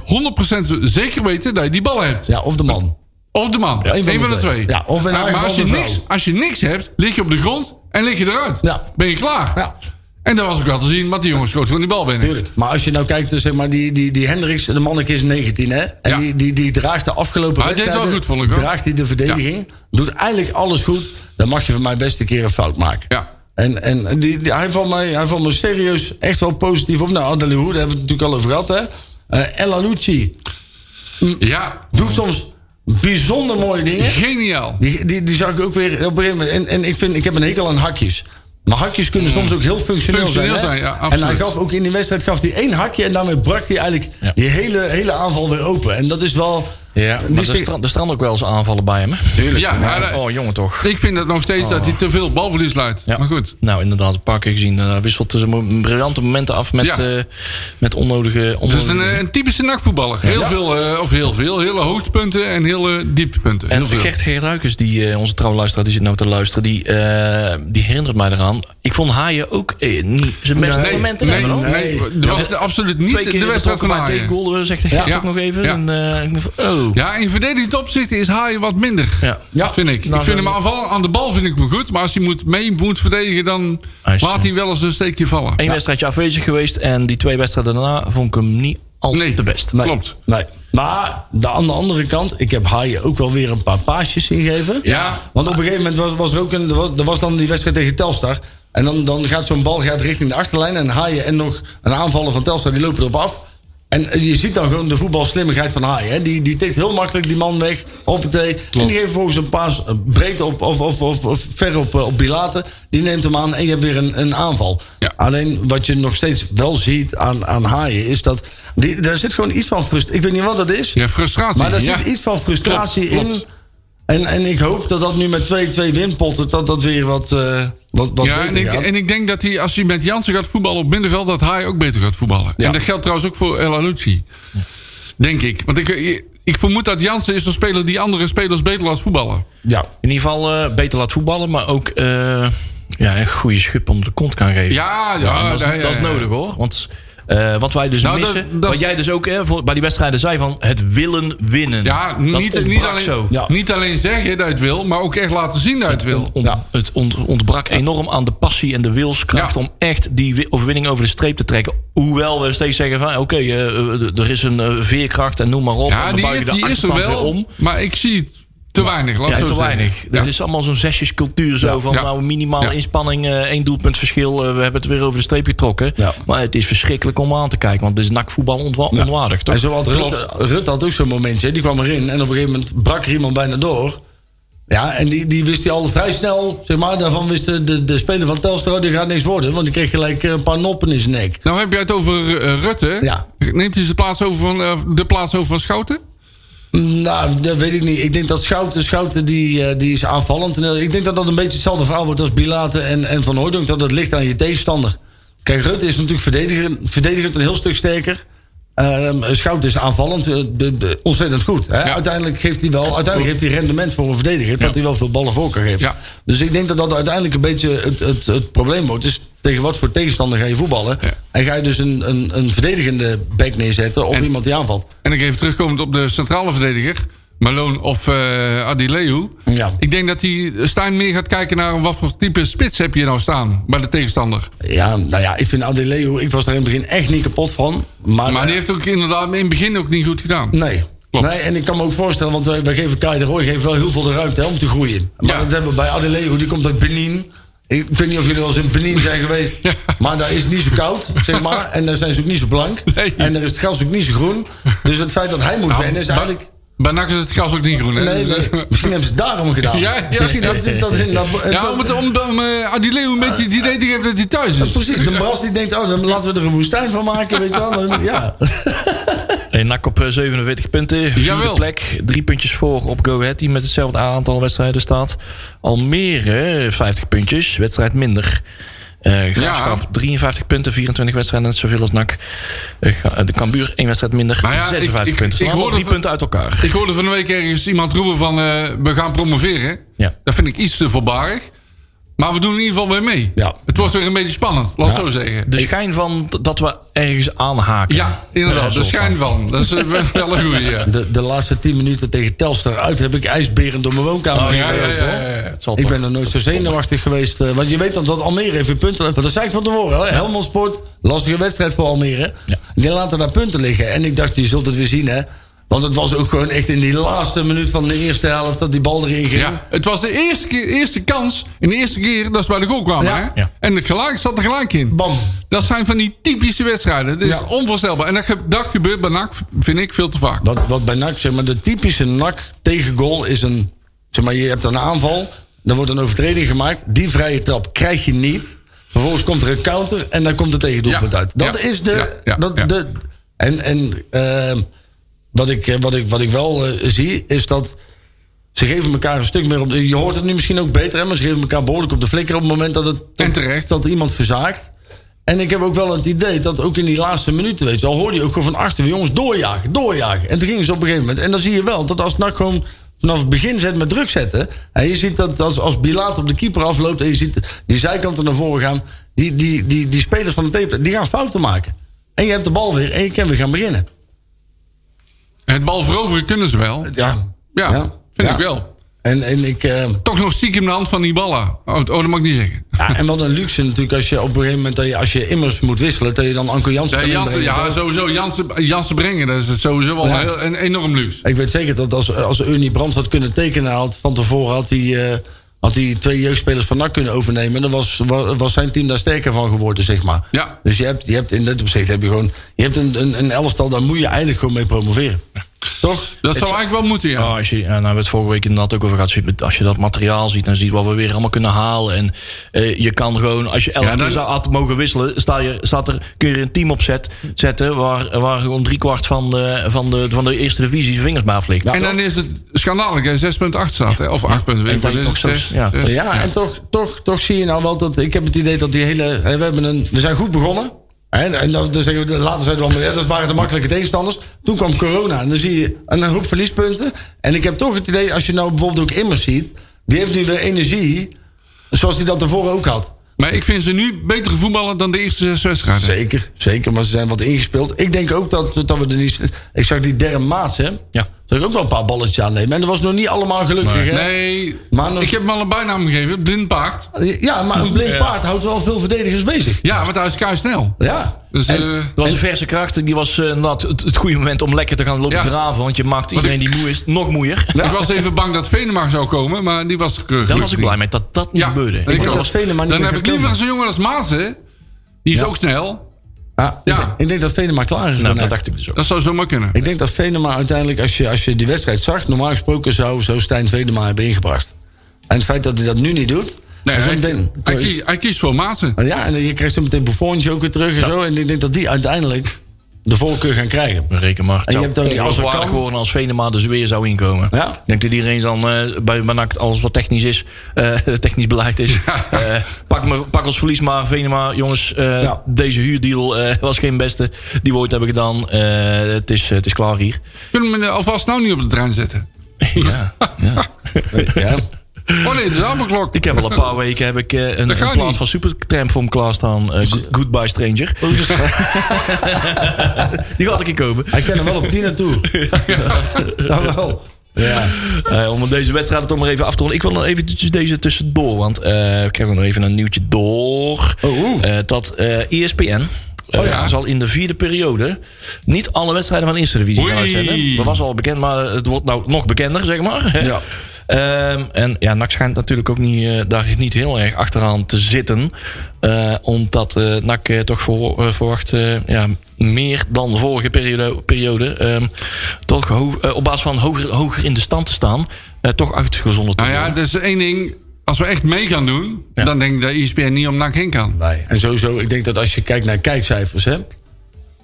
100% zeker weten dat je die bal hebt. Ja, of de man. Of de man. een Eén van van, de de twee. twee. Ja, of in maar haar maar als, je geval de niks, vrouw. als je niks hebt, lig je op de grond en lig je eruit. Ja. Ben je klaar. Ja. En dat was ook wel te zien, want die jongens schoot gewoon die bal binnen. Tuurlijk. Maar als je nou kijkt, dus zeg maar, die, die, die Hendricks, de manneke is 19, hè? En Ja. die, die, die draagt de afgelopen Hij deed wel wedstrijden, goed, vond ik, hoor. Draagt hij de verdediging, doet eigenlijk alles goed. Dan mag je van mij best een keer een fout maken. Ja. En, en die, die- hij, valt mij, hij valt me serieus echt wel positief op. Nou, Adelihu, daar hebben we het natuurlijk al over gehad, hè? Eh El Alouchi Ja, doet soms bijzonder mooie dingen. geniaal. Die, die, die zag ik ook weer op een gegeven moment. En, en ik, vind, ik heb een hekel aan hakjes. Maar hakjes kunnen soms ook heel functioneel, Mm. Functioneel zijn. hè? zijn, ja, en absoluut. hij gaf ook in die wedstrijd gaf hij één hakje. En daarmee brak hij eigenlijk Ja. die hele, hele aanval weer open. En dat is wel. Ja, die maar er zich- strand, er stranden ook wel eens aanvallen bij hem. hè? Ja, maar- eh, Oh, jongen toch. Ik vind dat nog steeds dat hij te veel balverlies leidt. Ja. Maar goed. Nou, inderdaad, een paar keer gezien. Eh, Hij wisselt dus mo- briljante momenten af met, Ja. eh, met onnodige... Het is onnodige een, eh, een typische nachtvoetballer. Heel veel, eh, of heel veel, hele hoogtepunten en hele dieptepunten. Heel En veel. Gert, Gert Ruikers, die, eh, onze trouwluisteraar, die zit nou te luisteren, die, eh, die herinnert mij eraan. Ik vond Haaien ook eh, niet zijn beste nee, momenten nee, hebben. nee, hoor. nee, dat was absoluut niet Twee keer de wedstrijd betrokken bij van Haaien. twee goal, eh, zegt Gert Ja. ook nog even. Ja. En, eh, ik dacht van, oh, Zo. Ja, in verdedigend opzicht is Haaien wat minder. Ja. Nou, Ja, vind ik. ik vind hem aanval, aan de bal vind ik hem goed. Maar als hij moet, mee moet verdedigen, dan Hij is, eh, laat hij wel eens een steekje vallen. Eén wedstrijdje afwezig geweest. En die twee wedstrijden daarna vond ik hem niet al Nee. te best. Nee. Klopt. Nee. Maar de, aan de andere kant, ik heb Haaien ook wel weer een paar paasjes ingegeven. Ja. Want op een gegeven moment was, was er ook een, er was, er was dan die wedstrijd tegen Telstar. En dan, dan gaat zo'n bal gaat richting de achterlijn. En Haaien en nog een aanvaller van Telstar, die lopen erop af. En eh, je ziet dan gewoon de voetbalslimmigheid van Haaien. hè. Die, die tikt heel makkelijk die man weg op het En die geeft vervolgens een paas eh, breed op, of, of, of, of ver op, eh, op Bilaten. Die neemt hem aan en je hebt weer een, een aanval. Ah, Ja. Alleen wat je nog steeds wel ziet aan, aan Haaien is dat... Die, daar zit gewoon iets van frustratie. Ik weet niet wat dat is. Ja, frustratie. Maar daar ja. zit iets van frustratie Klopt, klopt. in. En, en ik hoop dat dat nu met 2-2 winpotten... dat dat weer wat, eh wat, wat ja, beter en ik, gaat. en ik denk dat hij, als hij met Jansen gaat voetballen op middenveld, dat hij ook beter gaat voetballen. En dat geldt trouwens ook voor El Alucci. Denk ik. Want ik, ik vermoed dat Jansen is een speler die andere spelers beter laat voetballen. ja. In ieder geval eh, beter laat voetballen. Maar ook eh, ja, een goede schub onder de kont kan geven. Ja, ja, En dat, is, Ah, ja, ja, dat is ja. nodig hoor. Want eh, wat wij dus Nou, dat- missen. dat- wat jij dus ook hè, voor, bij die wedstrijden zei van het willen winnen. Ja, dat niet, niet, ontbrak alleen, zo. Ja. niet alleen zeggen dat je het wil, maar ook echt laten zien dat je het wil. Ont- Het ont- ontbrak enorm aan de passie en de wilskracht Ja. om echt die wi- overwinning over de streep te trekken. Hoewel we steeds zeggen van oké, eh, eh, d- er is een eh, veerkracht en noem maar op. en Ja, dan die, buig je is- de die is er achterkant weer wel, om. maar ik zie het te weinig. Laat Ja, het zo te zeggen. weinig. Ja. Dat is allemaal zo'n zesjescultuur zo van Ja. nou minimaal Ja. inspanning, eh, één doelpunt verschil. eh, we hebben het weer over de streep getrokken. Ja. Maar het is verschrikkelijk om aan te kijken, want het is nakvoetbal onwa- onwaardig toch? En zo had Rutte, Rutte had ook zo'n momentje. hè. Die kwam erin en op een gegeven moment brak er iemand bijna door. Ja, en die, die wist hij al vrij snel, zeg maar. Daarvan wist de, de, de speler van Telstra, oh, die gaat niks worden. Want die kreeg gelijk eh, een paar noppen in zijn nek. Nou heb jij het over eh, Rutte. Ja. Neemt hij zijn plaats over van, eh, de plaats over van Schouten? Nou, dat weet ik niet. Ik denk dat Schouten, Schouten die, eh, die is aanvallend. En, eh, Ik denk dat dat een beetje hetzelfde verhaal wordt als Bilaten en, en Van Hooydonk. Dat het ligt aan je tegenstander. Kijk, Rutte is natuurlijk verdedigend, verdedigend een heel stuk sterker. Ehm, Schouten is aanvallend eh, de- de- ontzettend goed. Hè? Ja. Uiteindelijk geeft hij wel uiteindelijk heeft hij rendement voor een verdediger. Dat hij wel veel ballen voor kan geven. Ja. Dus ik denk dat dat uiteindelijk een beetje het, het, het probleem wordt. Dus tegen wat voor tegenstander ga je voetballen? Ja. En ga je dus een, een, een verdedigende back neerzetten of iemand die aanvalt? En ik even terugkomend op de centrale verdediger. Malone of eh Adileu. Ja. Ik denk dat die Stijn meer gaat kijken naar wat voor type spits heb je nou staan bij de tegenstander. Ja, nou ja, ik vind Adeleo, ik was daar in het begin echt niet kapot van. Maar, Maar die heeft ook inderdaad in het begin ook niet goed gedaan. Nee. Klopt. Nee, en ik kan me ook voorstellen, want wij, wij geven Kai de Roy geven wel heel veel de ruimte hè, om te groeien. Maar Ja. dat hebben we bij Adeleo, die komt uit Benin. Ik weet niet of jullie wel eens in Benin zijn geweest. Ja. Maar daar is het niet zo koud, zeg maar. En daar zijn ze ook niet zo blank. Nee. En daar is het gras ook niet zo groen. Dus het feit dat hij moet Nou, wennen is bij- eigenlijk... Bij NAC is het gras ook niet groen. Hè? Nee, Dus, nee, misschien hebben ze het daarom gedaan. Ja, ja. Misschien dat, dat, dat, dat- ja, om, het, om, om eh, Adileu een beetje het idee te geven dat hij thuis is. Precies, de Bras die denkt, oh, dan laten we er een woestijn van maken, weet je wel. Dan- Ja. En NAC op eh, 47 punten, vierde Jawel. plek. Drie puntjes voor op Go Ahead, die met hetzelfde aantal wedstrijden staat. Almere, eh, 50 puntjes, wedstrijd minder. Eh Graafschap, Ja. 53 punten, 24 wedstrijden, net zoveel als NAC. Eh, Ga- eh, de Kambuur, één wedstrijd minder, Maar Nou ja, ik- 56 ik- punten. ik Ik, hoorde drie van- punten uit elkaar. Ik hoorde van de week ergens iemand roepen van eh, we gaan promoveren. Ja. Dat vind ik iets te voorbarig. Maar we doen in ieder geval weer mee. Ja. Dus Het wordt weer een beetje spannend, laat het zo zeggen. De schijn van t- dat we ergens aanhaken. Ja, inderdaad. Eh, zo De schijn van. Dat is eh, wel een goeie. Ja. De, de laatste 10 minuten tegen Telstar uit heb ik ijsberend door mijn woonkamer Oh, Ja, ja, gereden, ja, hoor. ja, ja. Het zal Ik toch- ben nog nooit zo zenuwachtig geweest. eh, want je weet dan dat Almere even punten heeft. Dat zei ik van tevoren. hè. Helmond Sport, lastige wedstrijd voor Almere. Ja. Die laten daar punten liggen. En ik dacht, je zult het weer zien, hè. Want het was ook gewoon echt in die laatste minuut van de eerste helft... dat die bal erin ging. Ja, het was de eerste, keer, eerste kans en de eerste keer dat ze bij de goal kwamen. Ja. Hè? Ja. En het gelijk zat er gelijk in. Bam. Dat zijn van die typische wedstrijden. Dat is Ja. onvoorstelbaar. En dat, ge- dat gebeurt bij NAC, vind ik, veel te vaak. Wat, wat bij NAC, zeg maar, de typische NAC tegen goal is een... Zeg maar, je hebt een aanval, dan wordt een overtreding gemaakt. Die vrije trap krijg je niet. Vervolgens komt er een counter en dan komt het tegendoelpunt Ja, uit. Dat ja, is de... ja, ja, dat, ja. de en en ehm, wat, ik, eh, wat, ik, wat ik wel eh, zie, is dat... Ze geven elkaar een stuk meer op... de- Je hoort het nu misschien ook beter, hè, maar ze geven elkaar behoorlijk op de flikker... op het moment dat, het, En terecht. dat iemand verzaakt. En ik heb ook wel het idee dat ook in die laatste minuten... Weet je, al hoorde je ook gewoon van achter... jongens, doorjagen, doorjagen. En toen gingen ze op een gegeven moment... en dan zie je wel dat als NAC gewoon vanaf het begin zet met druk zetten... en je ziet dat als, als Bilaat op de keeper afloopt... en je ziet die zijkanten naar voren gaan... die, die, die, die spelers van de tape, die gaan fouten maken. En je hebt de bal weer en je kan weer gaan beginnen. Het bal veroveren kunnen ze wel. Ja. Ja, vind Ja. ik wel. En, en ik... eh, Toch nog ziek in de hand van die ballen. Oh, oh, dat mag ik niet zeggen. Ja, en wat een luxe natuurlijk als je op een gegeven moment dat je, als je immers moet wisselen, dat je dan Anko Jansen Ja, kan Jansen, inbrengen. ja sowieso. Jansen, Jansen brengen, dat is sowieso wel Ja. een heel, een enorm luxe. Ik weet zeker dat als, als Ernie Brands had kunnen tekenen, had, van tevoren had hij, eh, had hij twee jeugdspelers van NAC kunnen overnemen. En dan was, wa- was zijn team daar sterker van geworden, zeg maar. Ja. Dus je hebt, je hebt in dat opzicht heb je gewoon je hebt een, een, een elftal, daar moet je eigenlijk gewoon mee promoveren. Toch? Dat zou eigenlijk wel moeten, ja. Ja, als je, en daar hebben we het vorige week inderdaad ook over gehad. Als je- Als je dat materiaal ziet en ziet wat we weer allemaal kunnen halen. En eh, je kan gewoon, als je elf Ja, dan- keer zou had mogen wisselen, sta je, staat er, kun je er een team op zet, zetten waar, waar gewoon driekwart van de, van, de, van de eerste divisie zijn vingers baaf ligt. En dan is het schandalig, hè, 6,8 staat. Hè, of 8,8. En weet dat ik, je is nog het zo- zes, ja. zes. Ja, en toch, toch, toch zie je nou wel dat. Ik heb het idee dat die hele. hè, We, hebben een, we zijn goed begonnen. En, en dan, dan zeggen we, later zeiden we allemaal, ja, dat waren de makkelijke tegenstanders. Toen kwam corona en dan zie je een hoop verliespunten. En ik heb toch het idee, als je nou bijvoorbeeld ook Immers ziet... die heeft nu weer energie, zoals hij dat tevoren ook had. Maar ik vind ze nu betere voetballen dan de eerste zes wedstrijden. Zeker, zeker, maar ze zijn wat ingespeeld. Ik denk ook dat, we- dat we er niet... Ik zag die derde maat, hè? Ja. Zag ik ook wel een paar balletjes aannemen. En dat was nog niet allemaal gelukkig, hè? Nee, Maar nog- ik heb hem al een bijnaam gegeven, blind paard. Ja, maar een blind paard houdt wel veel verdedigers bezig. Ja, want hij is kei snel. Ja. Dus, En- eh, Dat was een verse kracht. Die was eh, inderdaad het, het goede moment om lekker te gaan lopen Ja. draven. Want je maakt iedereen die moe is nog moeier. Ik was even bang dat Venema zou komen, maar die was er keurig Daar niet. was ik blij mee dat dat niet Ja, gebeurde. ik Ik ook. dat Venema niet Dan meer heb gaat ik liever komen. zo'n jongen als Maas, hè. Die is ook snel. Ja, Ja. Ah, Ik, denk, ik denk dat Venema klaar is. voor nou, NAC. dat dacht ik dus ook. Dat zou zomaar kunnen. Ik denk dat Venema uiteindelijk, als je, als je die wedstrijd zag... normaal gesproken zou, zou Stijn Venema hebben ingebracht. En het feit dat hij dat nu niet doet... Nee, en zo hij, meteen- hij kiest, hij kiest voor Maassen. ja, en je krijgt zo meteen Buffoontje ook weer terug en zo. En ik denk dat die uiteindelijk de voorkeur gaan krijgen. Reken maar. Het En je zou hebt ook die ongeloofwaardig Azarkan. worden als Venema dus weer zou inkomen. Ja. Ik denk dat iedereen dan eh, bij Banakt, alles wat technisch is, eh, technisch beleid is. eh, pak, me, pak ons verlies maar, Venema. Jongens, eh, Ja. deze huurdeal eh, was geen beste die we ooit hebben gedaan. Eh, het, is, het is klaar hier. Kunnen we hem alvast nou niet op de trein zetten? ja. ja. Ja. Oh nee, het is allemaal klok. Ik heb al een paar weken heb ik, eh, een, Dat een gaat plaat niet. Oh, van Supertramp voor hem klaarstaan. eh, Go- Goodbye Stranger. Die gaat ik keer komen. Hij kan er wel op tien naartoe. Dat wel. Ja. Eh, om deze wedstrijd toch maar even af te ronden. Ik wil nog eventjes deze tussendoor. Want eh ik heb nog even een nieuwtje door. Oh, oeh. Eh, dat eh ESPN eh, Oh ja. zal in de vierde periode niet alle wedstrijden van de Eerste Divisie gaan Oei. uitzenden. Dat was al bekend, maar het wordt nou nog bekender, zeg maar. Ja. Ehm, en ja, NAC schijnt natuurlijk ook niet, eh, daar niet heel erg achteraan te zitten. Eh, omdat eh NAC eh, toch voor, eh, verwacht eh, ja, meer dan de vorige periode, periode ehm, toch ho- eh, op basis van hoger, hoger in de stand te staan, eh, toch uitgezonden te Nou worden. ja, dat is één ding. Als we echt mee gaan doen, dan denk ik dat E ESPN niet om NAC heen kan. Nee. En sowieso, ik denk dat als je kijkt naar kijkcijfers, hè,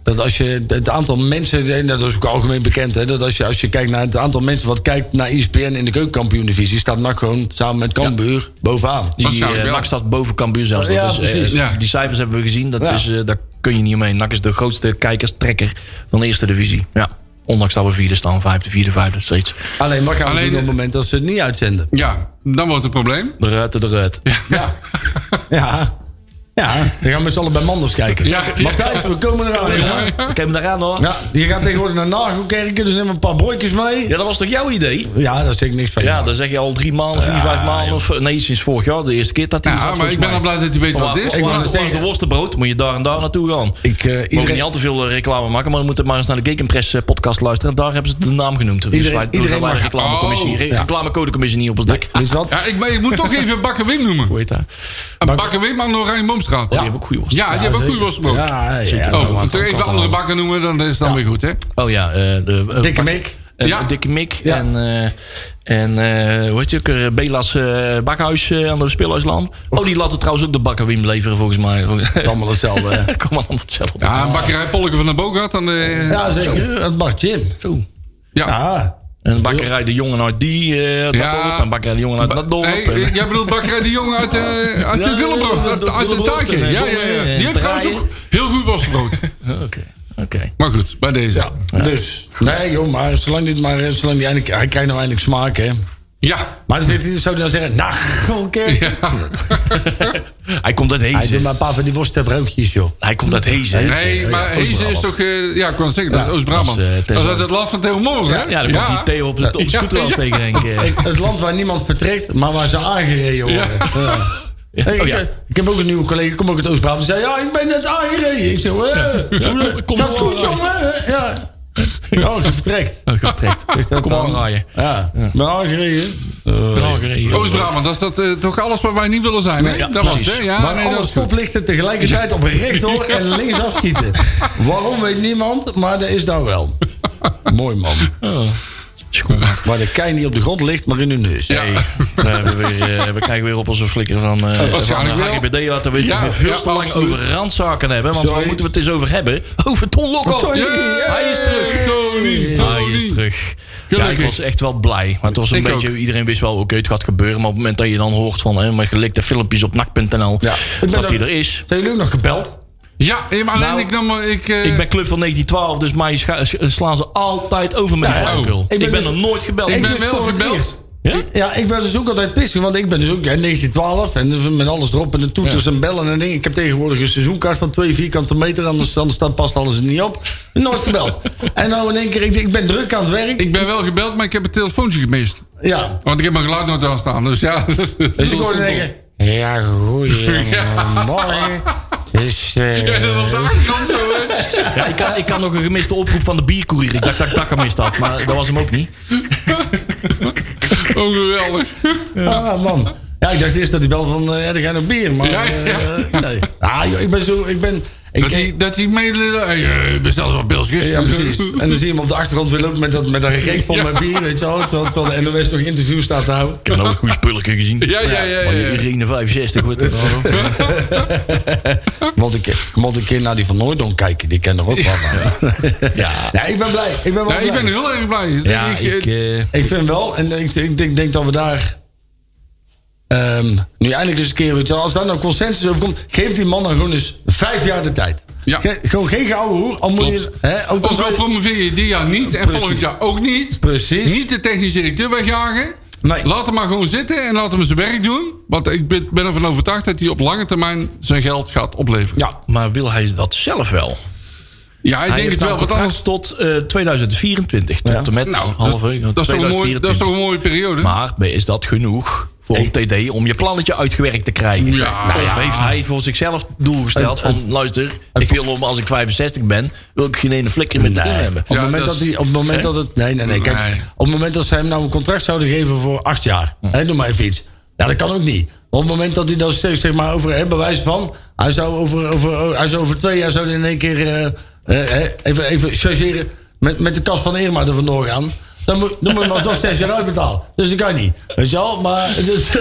dat als je het aantal mensen, en dat is ook algemeen bekend, hè, dat als je, als je kijkt naar het aantal mensen wat kijkt naar E ESPN in de keukenkampioen-divisie, staat NAC gewoon samen met Cambuur bovenaan. die waarschijnlijk eh, wel. NAC staat boven Cambuur zelfs. Ja, dat is, eh, precies. Ja. Die cijfers hebben we gezien, dat Ja. is, eh, daar kun je niet omheen. NAC is de grootste kijkerstrekker van de Eerste Divisie. Ja. Ondanks dat we vierde staan, vijfde, vierde, vijfde, steeds. Alleen wat gaan we Alleen- doen op het moment dat ze het niet uitzenden? Ja, dan wordt het een probleem. Eruit, eruit. Ja. ja. Ja, dan gaan we met z'n allen bij Manders kijken. Ja. Matthijs, we komen eraan. jongen. Ik heb hem eraan hoor. Ja, je gaat tegenwoordig naar Nagelkerken, dus neem een paar boykjes mee. Ja, dat was toch jouw idee? Ja, daar zeg ik niks van. Ja, dan zeg je al drie maanden, vier, vijf maanden. Of, nee, sinds vorig jaar, de eerste keer dat hij Ja, er zat, maar ik volgens ben al mij. blij dat hij weet wat het Waar- is. wou Waar het waar is de zeggen. worstenbrood? Moet je daar en daar naartoe gaan. Ik Ik, eh, Mogen iedereen, niet al te veel eh, reclame maken, maar dan moeten maar eens naar de Geek Press eh, podcast luisteren. En daar hebben ze de naam genoemd. Dus Iedereen- wij- dus iedereen wij de mag- reclamecommissie, Oh, re- ja. dus- reclamecodecommissie niet op ons dak. Weet je wat? Ja, ik, maar ik moet toch even Bakker Wim noemen. Hoe heet Ah. dat? Een Bakker Wim aan de Oranje Boomstraat. Die hebben ook goede worst. Ja, die hebben ook goede worstenbrood. Ja, ja. Oh, maar want er dat even kan andere wel. bakken noemen, dan is het dan weer goed, hè? Oh ja, eh, de, eh, Dikke Bak- Mick. eh, Ja. Dikke Mick. En, eh, en eh, hoe heet je ook? er? Belas eh, Bakhuis eh, aan de Speelhuislaan. Oh, die laten trouwens ook de bakkerwim leveren volgens mij. Het is allemaal hetzelfde. hè. Kom maar allemaal hetzelfde. Ja, een bakkerij Polken van de Bogart. aan de- Ja, zeker. Het mag gin. Zo. eh, ja. Ja. En bakkerij de jongen uit die eh, dat Ja. dorp. En bakkerij de jongen uit dat dorp. Hey, En- eh, jij bedoelt Bakkerij de Jongen uit, eh uit Ja, Willebroek, dat- uit, dat- uit de Willebroek taartje. en, eh, Ja, ja, ja. Dongen en Die heeft trouwens Draaien. ook heel goed worstenbrood. Oké. Oké. Maar goed, bij deze. Dus. Nee, joh, maar zolang dit maar... eh, Zolang die eindelijk, hij krijgt nou eindelijk smaak, hè. Ja. Maar dan zegt hij- zou hij dan zeggen, nagelkerk. Hij komt uit Hij doet Hezen. maar een paar van die worstenbroodjes, joh. Hij komt uit Hezen. Nee, maar Hezen is toch... eh, ja, ik kon het zeggen, dat is dat Oost-Brabant. is, eh, dat is Tesla. uit het land van Theo Morris, hè? Ja, dan komt die Theo op de, op de Ja, scooter wel ja. steken, denk ik. Eh, Het land waar niemand vertrekt, maar waar ze aangereden worden. Ja. Hey, oh ik, ja. eh, ik heb ook een nieuwe collega, ik kom ook uit Oost-Brabant. Die zei, ja, ik ben net aangereden. Ik zeg, eh, hoe- kom gaat maar goed, aan. jongen? Eh, Ja. Oh, je vertrekt. Gestrekt. Kom dan? aan, Raaien. Ja, ik ben aangereden. Oost-Brabant, dat is dat, eh, toch alles waar wij niet willen zijn, hè? ja, dat was het, hè? precies. Ja, maar nee, alle dat is goed. stoplichten tegelijkertijd op recht door en links afschieten. Waarom weet niemand, maar dat is daar wel. Mooi man. Waar de kei niet op de grond ligt, maar in de neus. Ja. Hey, we, hebben weer, eh, we krijgen weer op onze flikker van, eh van waarschijnlijk eh, wel. HGBD. Laten we Ja, weer veel ja, te lang absoluut. over randzaken hebben. Want Sorry. waar moeten we het eens over hebben? Over Ton Lokko. Tony, Yeah, Hij is terug. Tony, Hij Tony. is terug. Ja, ik Gelukkig. was echt wel blij. Maar het was een Ik beetje, ook. iedereen wist wel, oké, het gaat gebeuren. Maar op het moment dat je dan hoort van hè, mijn gelikte filmpjes op nak.nl Ja. Ik ben dat hij ook- er is. Zijn jullie ook nog gebeld? Ja, eh, maar alleen Nou, ik nam... maar- Ik, eh, Ik ben club van 1912, dus mij scha- s- slaan ze altijd over met de flauwekul. ben Ik ben, dus- nog nooit gebeld. Ik ben dus wel voor het gebeld. eerst. Ja? Ja, ik ben dus ook altijd pissig, want ik ben dus ook ja, 1912 en dus met alles erop en de toeters en bellen en dingen. Ik heb tegenwoordig een seizoenkaart van twee vierkante meter, anders, anders staat- past alles er niet op. Nooit gebeld. en nou in één keer, ik, ik ben druk aan het werk. ik ben wel gebeld, maar ik heb het telefoontje gemist. ja. Want ik heb mijn geluid nooit aanstaan, dus ja. Dus Dus ik hoorde in één keer, Ja, goeiemorgen. Is, eh, Ja, dat op de achtergrond zo, hè? Ja, ik, had, ik had nog een gemiste oproep van de biercourier. Ik dacht dat ik dat gemist had, maar dat was hem ook niet. Oh, geweldig. Ah, man. Ja, ik dacht eerst dat hij belde van, eh, ja, er gaan nog bier, maar Ja, ja. eh, nee. Ah, joh, ik ben zo, ik ben... Ik, Dat hij, dat hij meedelen. Hey, eh, bestel eens wat pilsjes. Ja, precies. En dan zie je hem op de achtergrond weer lopen met dat, met dat gek vol met bier, weet je wel. Terwijl, terwijl de NOS nog interview staat te houden. Ik heb nog een goede spulletje gezien. Ja, ja, ja, ja, Maar die ja. Irene 65 wordt er dan ook. Want ik, ik moet een keer naar die Van Noordon kijken, die kennen we ook wel. Ja. Ja. ja, ik ben blij. Ik ben wel Ja, ik blij. ben heel erg blij. Ja, Ik, eh, ik, eh, Ik vind wel, en ik, ik, ik denk dat we daar... ehm, nu eindelijk eens een keer, weet je wel, als daar nou consensus over komt... geef die man dan gewoon eens vijf jaar de tijd. Ja. Ge- gewoon geen gouden hoer, al moet je... Klopt. Hè, ook ook als al wij- promoveer je dit jaar niet en Precies. volgend jaar ook niet. Precies. Niet de technisch directeur wegjagen. Nee. Laat hem maar gewoon zitten en laat hem zijn werk doen. Want ik ben ben ervan overtuigd dat hij op lange termijn zijn geld gaat opleveren. Ja, Maar wil hij dat zelf wel? Ja, ik hij denk heeft het wel. nou Want anders. contract tot eh, 2024. Tot en met Nou, half dat, uur, dat is toch een mooie, 2024. dat is toch een mooie periode? Maar is dat genoeg voor een TD om je plannetje uitgewerkt te krijgen? Ja. Of heeft hij voor zichzelf doel gesteld van... luister, ik wil om als ik 65 ben... wil ik geen ene flikker meer te doen hebben. Op, het Ja, moment dat dat hij, op het moment dat het. Nee, nee, nee. Kijk, Nee. Hm. Op het moment dat ze hem nou een contract zouden geven voor acht jaar. Hè, noem maar even iets. Ja, dat kan ook niet. Op het moment dat hij dan steeds, zeg maar, over hè, bewijs van. Hij zou over, over, oh, hij zou over twee jaar zou hij in één keer. eh, eh, hè, even, even chargeren met, met de kas van Irma er vandoor gaan. Dan moet, dan moet je hem alsnog zes jaar uitbetalen. Dus dat kan niet. Weet je wel? Maar. Dus,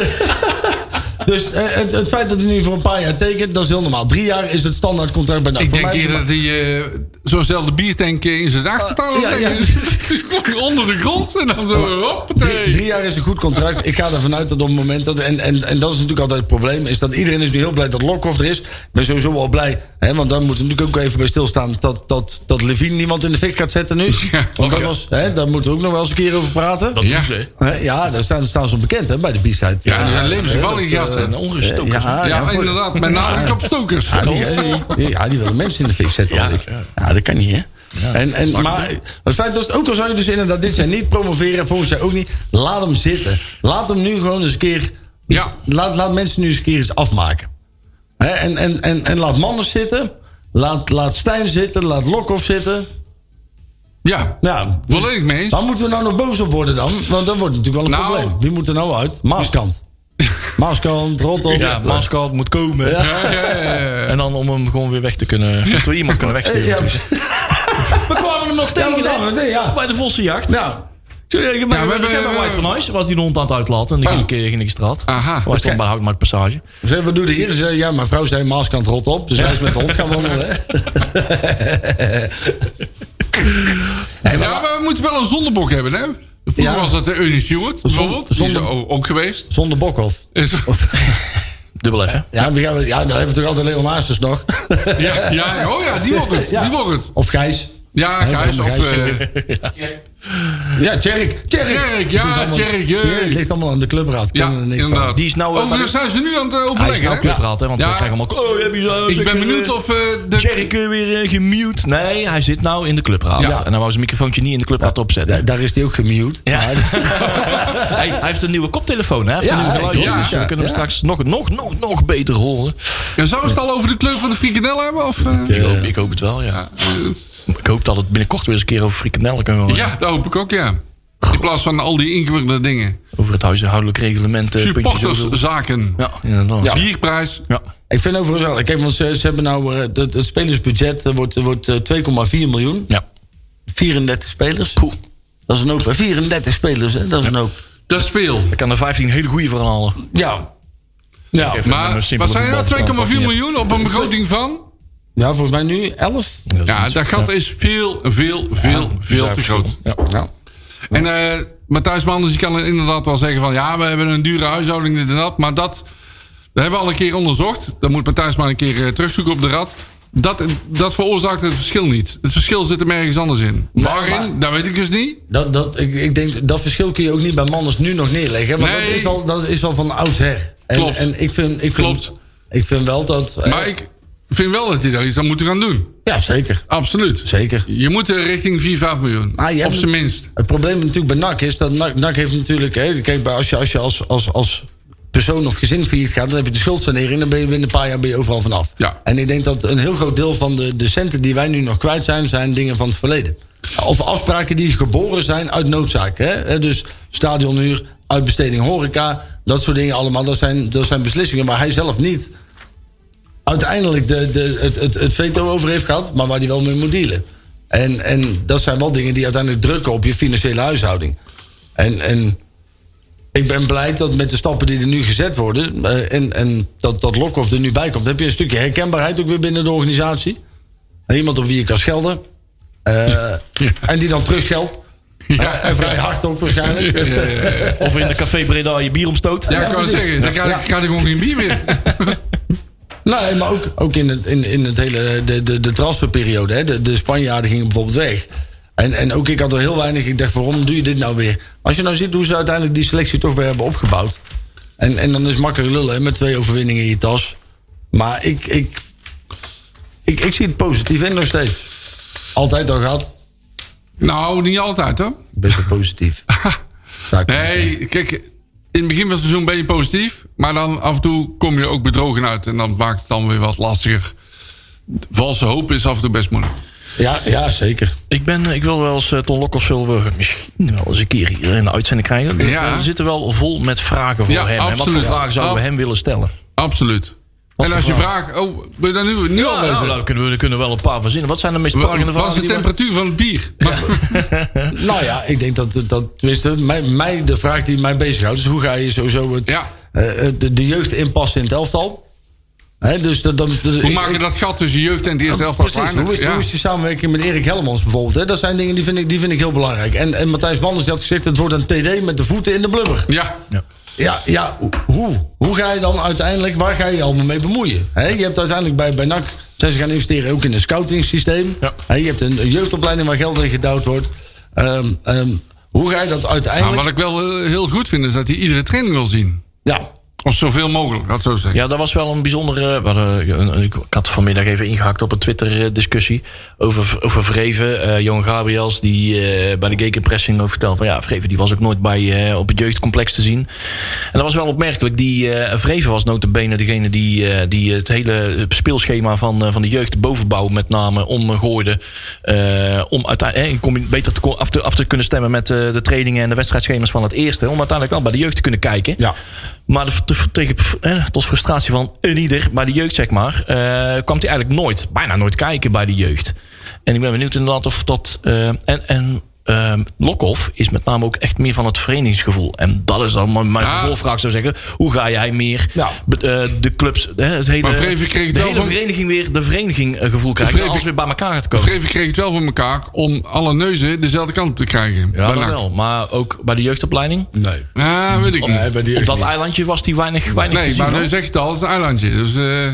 dus eh, het, het feit dat hij nu voor een paar jaar tekent, dat is heel normaal. Drie jaar is het standaard contract bij NAC. Ik Voor denk mij- eerder dat hij eh, zo'nzelfde biertank eh, in zijn Ah, achtertuin ja, ja. legt. onder de grond en dan zo Oh, op. Drie, drie jaar is een goed contract. Ik ga ervan uit dat op het moment dat. En, en, en dat is natuurlijk altijd het probleem. Is dat iedereen is nu heel blij dat Lokhoff er is. Ik ben sowieso wel blij. Hè, want daar moeten we natuurlijk ook even bij stilstaan. Dat, dat, dat Levine niemand in de fik gaat zetten nu. want Oh, dat was, hè, daar moeten we ook nog wel eens een keer over praten. Dat Ja. doen ze. Hè, ja, daar staan, staan ze bekend hè, bij de B-side. Ja, die zijn levensgevallige gasten. Een ongestoken. Ja, inderdaad. Met nadruk op stokers. Ah, Ja, Ah, die, die- ja, die willen mensen in de fik zetten. Ja, ja dat kan niet, hè? en, en, maar het feit is, ook al zou je dus inderdaad dit jaar niet promoveren, volgens jaar ook niet, laat hem zitten. Laat hem nu gewoon eens een keer. iets- Ja. laat, laat mensen nu eens een keer iets afmaken. Hè, en, en, en, en laat mannen zitten. Laat, laat Stijn zitten. Laat Lokhoff zitten. Ja, Ja. volledig mee eens. Waar moeten we nou nog boos op worden dan? Want dat wordt natuurlijk wel een Nou. probleem. Wie moet er nou uit? Maaskant. Maaskant, Rotterdam. Ja, Mascald moet komen. Ja, ja, ja, ja. En dan om hem gewoon weer weg te kunnen... dat we iemand kunnen wegsturen. Ja, natuurlijk. We kwamen hem nog tegen, maar hè? dan, nee, ja. Bij de Vossenjacht. Nou, Ja, ik heb we ja, hebben- we- White van Huis, was die de hond aan het uitlaten. En dan Ah. ging ik, eh, ging ik de straat. Aha. Was dan bij de houtmarktpassage. Ze zei, wat doe je hier? Ze zei, ja, mijn vrouw zei maaskant rot op. Dus hij is met de hond gaan wandelen. hè. Ja, maar we moeten wel een zondebok hebben, hè? Vroeger Ja. was dat de Ernie Stewart, bijvoorbeeld. Die is zonde- er ook ook geweest. Zonder Bokhoff. Is- Dubbel even. Ja, we gaan, ja, dan hebben we toch altijd Leon Haasters nog. Ja, ja, oh ja, die wordt het. Die wordt het. Of Gijs. Ja, Hè, Gijs. van Of, Gijs, eh, Ja, Tjerk. Tjerk, ja, Het is allemaal- Tjerk, jee. Het ligt allemaal aan de clubraad. ja, Kan er niks van. inderdaad. Die is nou, eh, Overigens zijn ze nu aan het eh, Hij is overleggen. nou hè? clubraad, hè? Want Ja. we krijgen allemaal... Oh, heb je zo, Ik ben zeker, benieuwd eh, of eh, de... Jerry Keur weer eh, gemute. Nee, hij zit nou in de clubraad. Ja. En dan wou zijn microfoontje niet in de clubraad opzetten. Da- daar is hij ook gemute. Ja. Maar- Hij, hij heeft een nieuwe koptelefoon, hè? Hij heeft Ja, een nieuw ja, geluidje. klopt. dus we Ja, kunnen hem ja. straks nog, nog, nog, nog beter horen. Ja, zou het al over de kleur van de frikandel hebben? Of, eh? Ik, hoop, ik hoop het wel, ja. Ik hoop dat het binnenkort weer eens een keer over frikandellen kan gaan. Ja, dat hoop ik ook, ja. In plaats van al die ingewikkelde dingen. Over het huishoudelijk reglement. eh, puntje zoveel. Supporterszaken. Ja, inderdaad. Ja. Ja. Bierprijs. ja. Ik vind overigens wel. Kijk, want ze, ze hebben nou. eh, Het, het spelersbudget eh, wordt, wordt eh, 2,4 miljoen. 34 spelers. Dat is een hoop. hè. 34 spelers, hè? Dat is een hoop. Dat speel. Ik kan er 15 hele goede van halen. Ja. Ja. Even een, eh, Maar simpele wat zijn er nou? 2,4 voetbalverstand, of niet? miljoen op een begroting van? ja, volgens mij nu 11. Ja, dat gat is veel, veel, veel, veel te groot. Ja. Ja. En eh Matthijs Manders die kan inderdaad wel zeggen van... ja, we hebben een dure huishouding, dit en dat. Maar dat, dat hebben we al een keer onderzocht. Dat moet Matthijs maar een keer eh, terugzoeken op de rad. Dat, dat veroorzaakt het verschil niet. Het verschil zit hem ergens anders in. Waarin, maar- dat weet ik dus niet. Dat, dat, ik, ik denk, dat verschil kun je ook niet bij Manders nu nog neerleggen. Want Nee. dat, is al, dat is al van oudsher. En, Klopt. En ik vind, ik vind, Klopt. Ik vind wel dat... eh, Maar ik vind wel dat hij daar iets aan moet gaan doen. ja, zeker. Absoluut. Zeker. Je moet eh, richting 4, 5 miljoen. Maar je op hebt- zijn minst. Het probleem natuurlijk bij NAC is dat NAC, NAC heeft natuurlijk... Hè, kijk, bij- als je, als, je als, als, als persoon of gezin failliet gaat... dan heb je de schuldsanering... dan ben je binnen een paar jaar ben je overal vanaf. Ja. En ik denk dat een heel groot deel van de, de centen die wij nu nog kwijt zijn... zijn dingen van het verleden. Of afspraken die geboren zijn uit noodzaak. Hè? Hè, Dus stadionhuur, uitbesteding horeca... dat soort dingen allemaal, dat zijn, dat zijn beslissingen. Maar hij zelf niet uiteindelijk de, de, het, het, het veto over heeft gehad, maar waar hij wel mee moet dealen. En, en dat zijn wel dingen die uiteindelijk drukken op je financiële huishouding. En, en ik ben blij dat met de stappen die er nu gezet worden. eh, en, en dat, dat Lokhoff er nu bij komt. heb je een stukje herkenbaarheid ook weer binnen de organisatie. En iemand op wie je kan schelden. Eh, En die dan terugscheldt. Eh, en vrij hard ook waarschijnlijk. Ja, ja, ja. Of in de café Breda je bier omstoot. Ja, ik kan precies. zeggen, dan krijg, Ja. ik- krijg ik gewoon geen bier meer. Nee, maar ook, ook in, het, in, in het hele, de, de, de transferperiode. Hè? De, de Spanjaarden gingen bijvoorbeeld weg. En, en ook ik had er heel weinig. Ik dacht, waarom doe je dit nou weer? Als je nou ziet hoe ze uiteindelijk die selectie toch weer hebben opgebouwd. En, en dan is het makkelijk lullen hè, met twee overwinningen in je tas. Maar ik, ik, ik, ik zie het positief in nog steeds. Altijd al gehad. Nou, niet altijd hoor. Best wel positief. Sta ik meteen. Nee, kijk, in het begin van het seizoen ben je positief. Maar dan af en toe kom je ook bedrogen uit. En dan maakt het dan weer wat lastiger. Valse hoop is af en toe best moeilijk. Ja, ja, zeker. Ik, ben, eh, ik wil wel eens, eh, Ton Lokkers zullen we misschien wel eens een keer hier in de uitzending krijgen. We, Ja. we zitten wel vol met vragen voor Ja, hem. En wat voor absoluut. vragen zouden we Ja. hem willen stellen? Absoluut. en voor als je vraag? vraagt, oh, wil je dat nu, nu al Ja, nou, weten? daar kunnen we er kunnen we wel een paar verzinnen. Wat zijn de meest prangende Wat is vragen? de die we- temperatuur van het bier? Maar- Nou ja, ik denk dat, dat tenminste, mij, mij, de vraag die mij bezighoudt... is hoe ga je sowieso het, Ja. eh, eh, de, de jeugd inpassen in het elftal? Hè, dus dat, dat, Hoe maak je dat gat tussen jeugd en het eerste helft Precies, hoe is, hoe is je samenwerking met Erik Helmons bijvoorbeeld? Hè? Dat zijn dingen die vind ik, die vind ik heel belangrijk. En, en Matthijs Manders die had gezegd, het wordt een TD met de voeten in de blubber. Ja, Ja, ja hoe? Hoe ga je dan uiteindelijk, waar ga je je allemaal mee bemoeien? Hè, je hebt uiteindelijk bij, bij NAC, zijn ze gaan investeren ook in een scoutingsysteem. Ja. Hè, je hebt een, een jeugdopleiding waar geld in gedouwd wordt. Ehm, ehm, hoe ga je dat Nou, uiteindelijk... wat ik wel eh, heel goed vind is dat hij iedere training wil zien. Nou, Ja, Of zoveel mogelijk, laat ik zo zeggen. Ja, dat was wel een bijzondere. we hadden- een- een- ik had vanmiddag even ingehakt op een Twitter-discussie over, over Vreven. eh Johan Gabriels, die eh, bij de Gekenpressing ook vertelde van ja, Vreven die was ook nooit bij, eh, op het jeugdcomplex te zien. En dat was wel opmerkelijk. Die, eh Vreven was notabene degene die, eh, die het hele speelschema van, eh, van de jeugd bovenbouw met name omgooide. eh, om uiteindelijk eh, combi- beter te, ko- af, te, af te kunnen stemmen met eh, de trainingen en de wedstrijdschema's van het eerste. Om uiteindelijk wel bij de jeugd te kunnen kijken. Ja. Maar de, te- tegen, eh, tot frustratie van een ieder, bij de jeugd zeg maar, eh, kwam hij eigenlijk nooit, bijna nooit kijken bij de jeugd. En ik ben benieuwd inderdaad of dat. eh, en en ehm, Lokhoff is met name ook echt meer van het verenigingsgevoel. En dat is dan mijn, mijn Ja. vervolgvraag zou zeggen. Hoe ga jij meer Ja. be- eh, de clubs, eh, het hele, Maar Vreven kreeg de wel hele van- vereniging weer de vereniging eh, gevoel krijgen. Vreven- Als weer bij elkaar gaat komen. Vreven kreeg het wel voor elkaar om alle neuzen dezelfde kant op te krijgen. Ja, Bij dat NAC. wel. Maar ook bij de jeugdopleiding. nee. Ah, weet ik niet. Op dat eilandje was hij weinig, weinig te Nee, zien. maar dus- hoor. nu zegt het al, het is een eilandje. Dus, eh,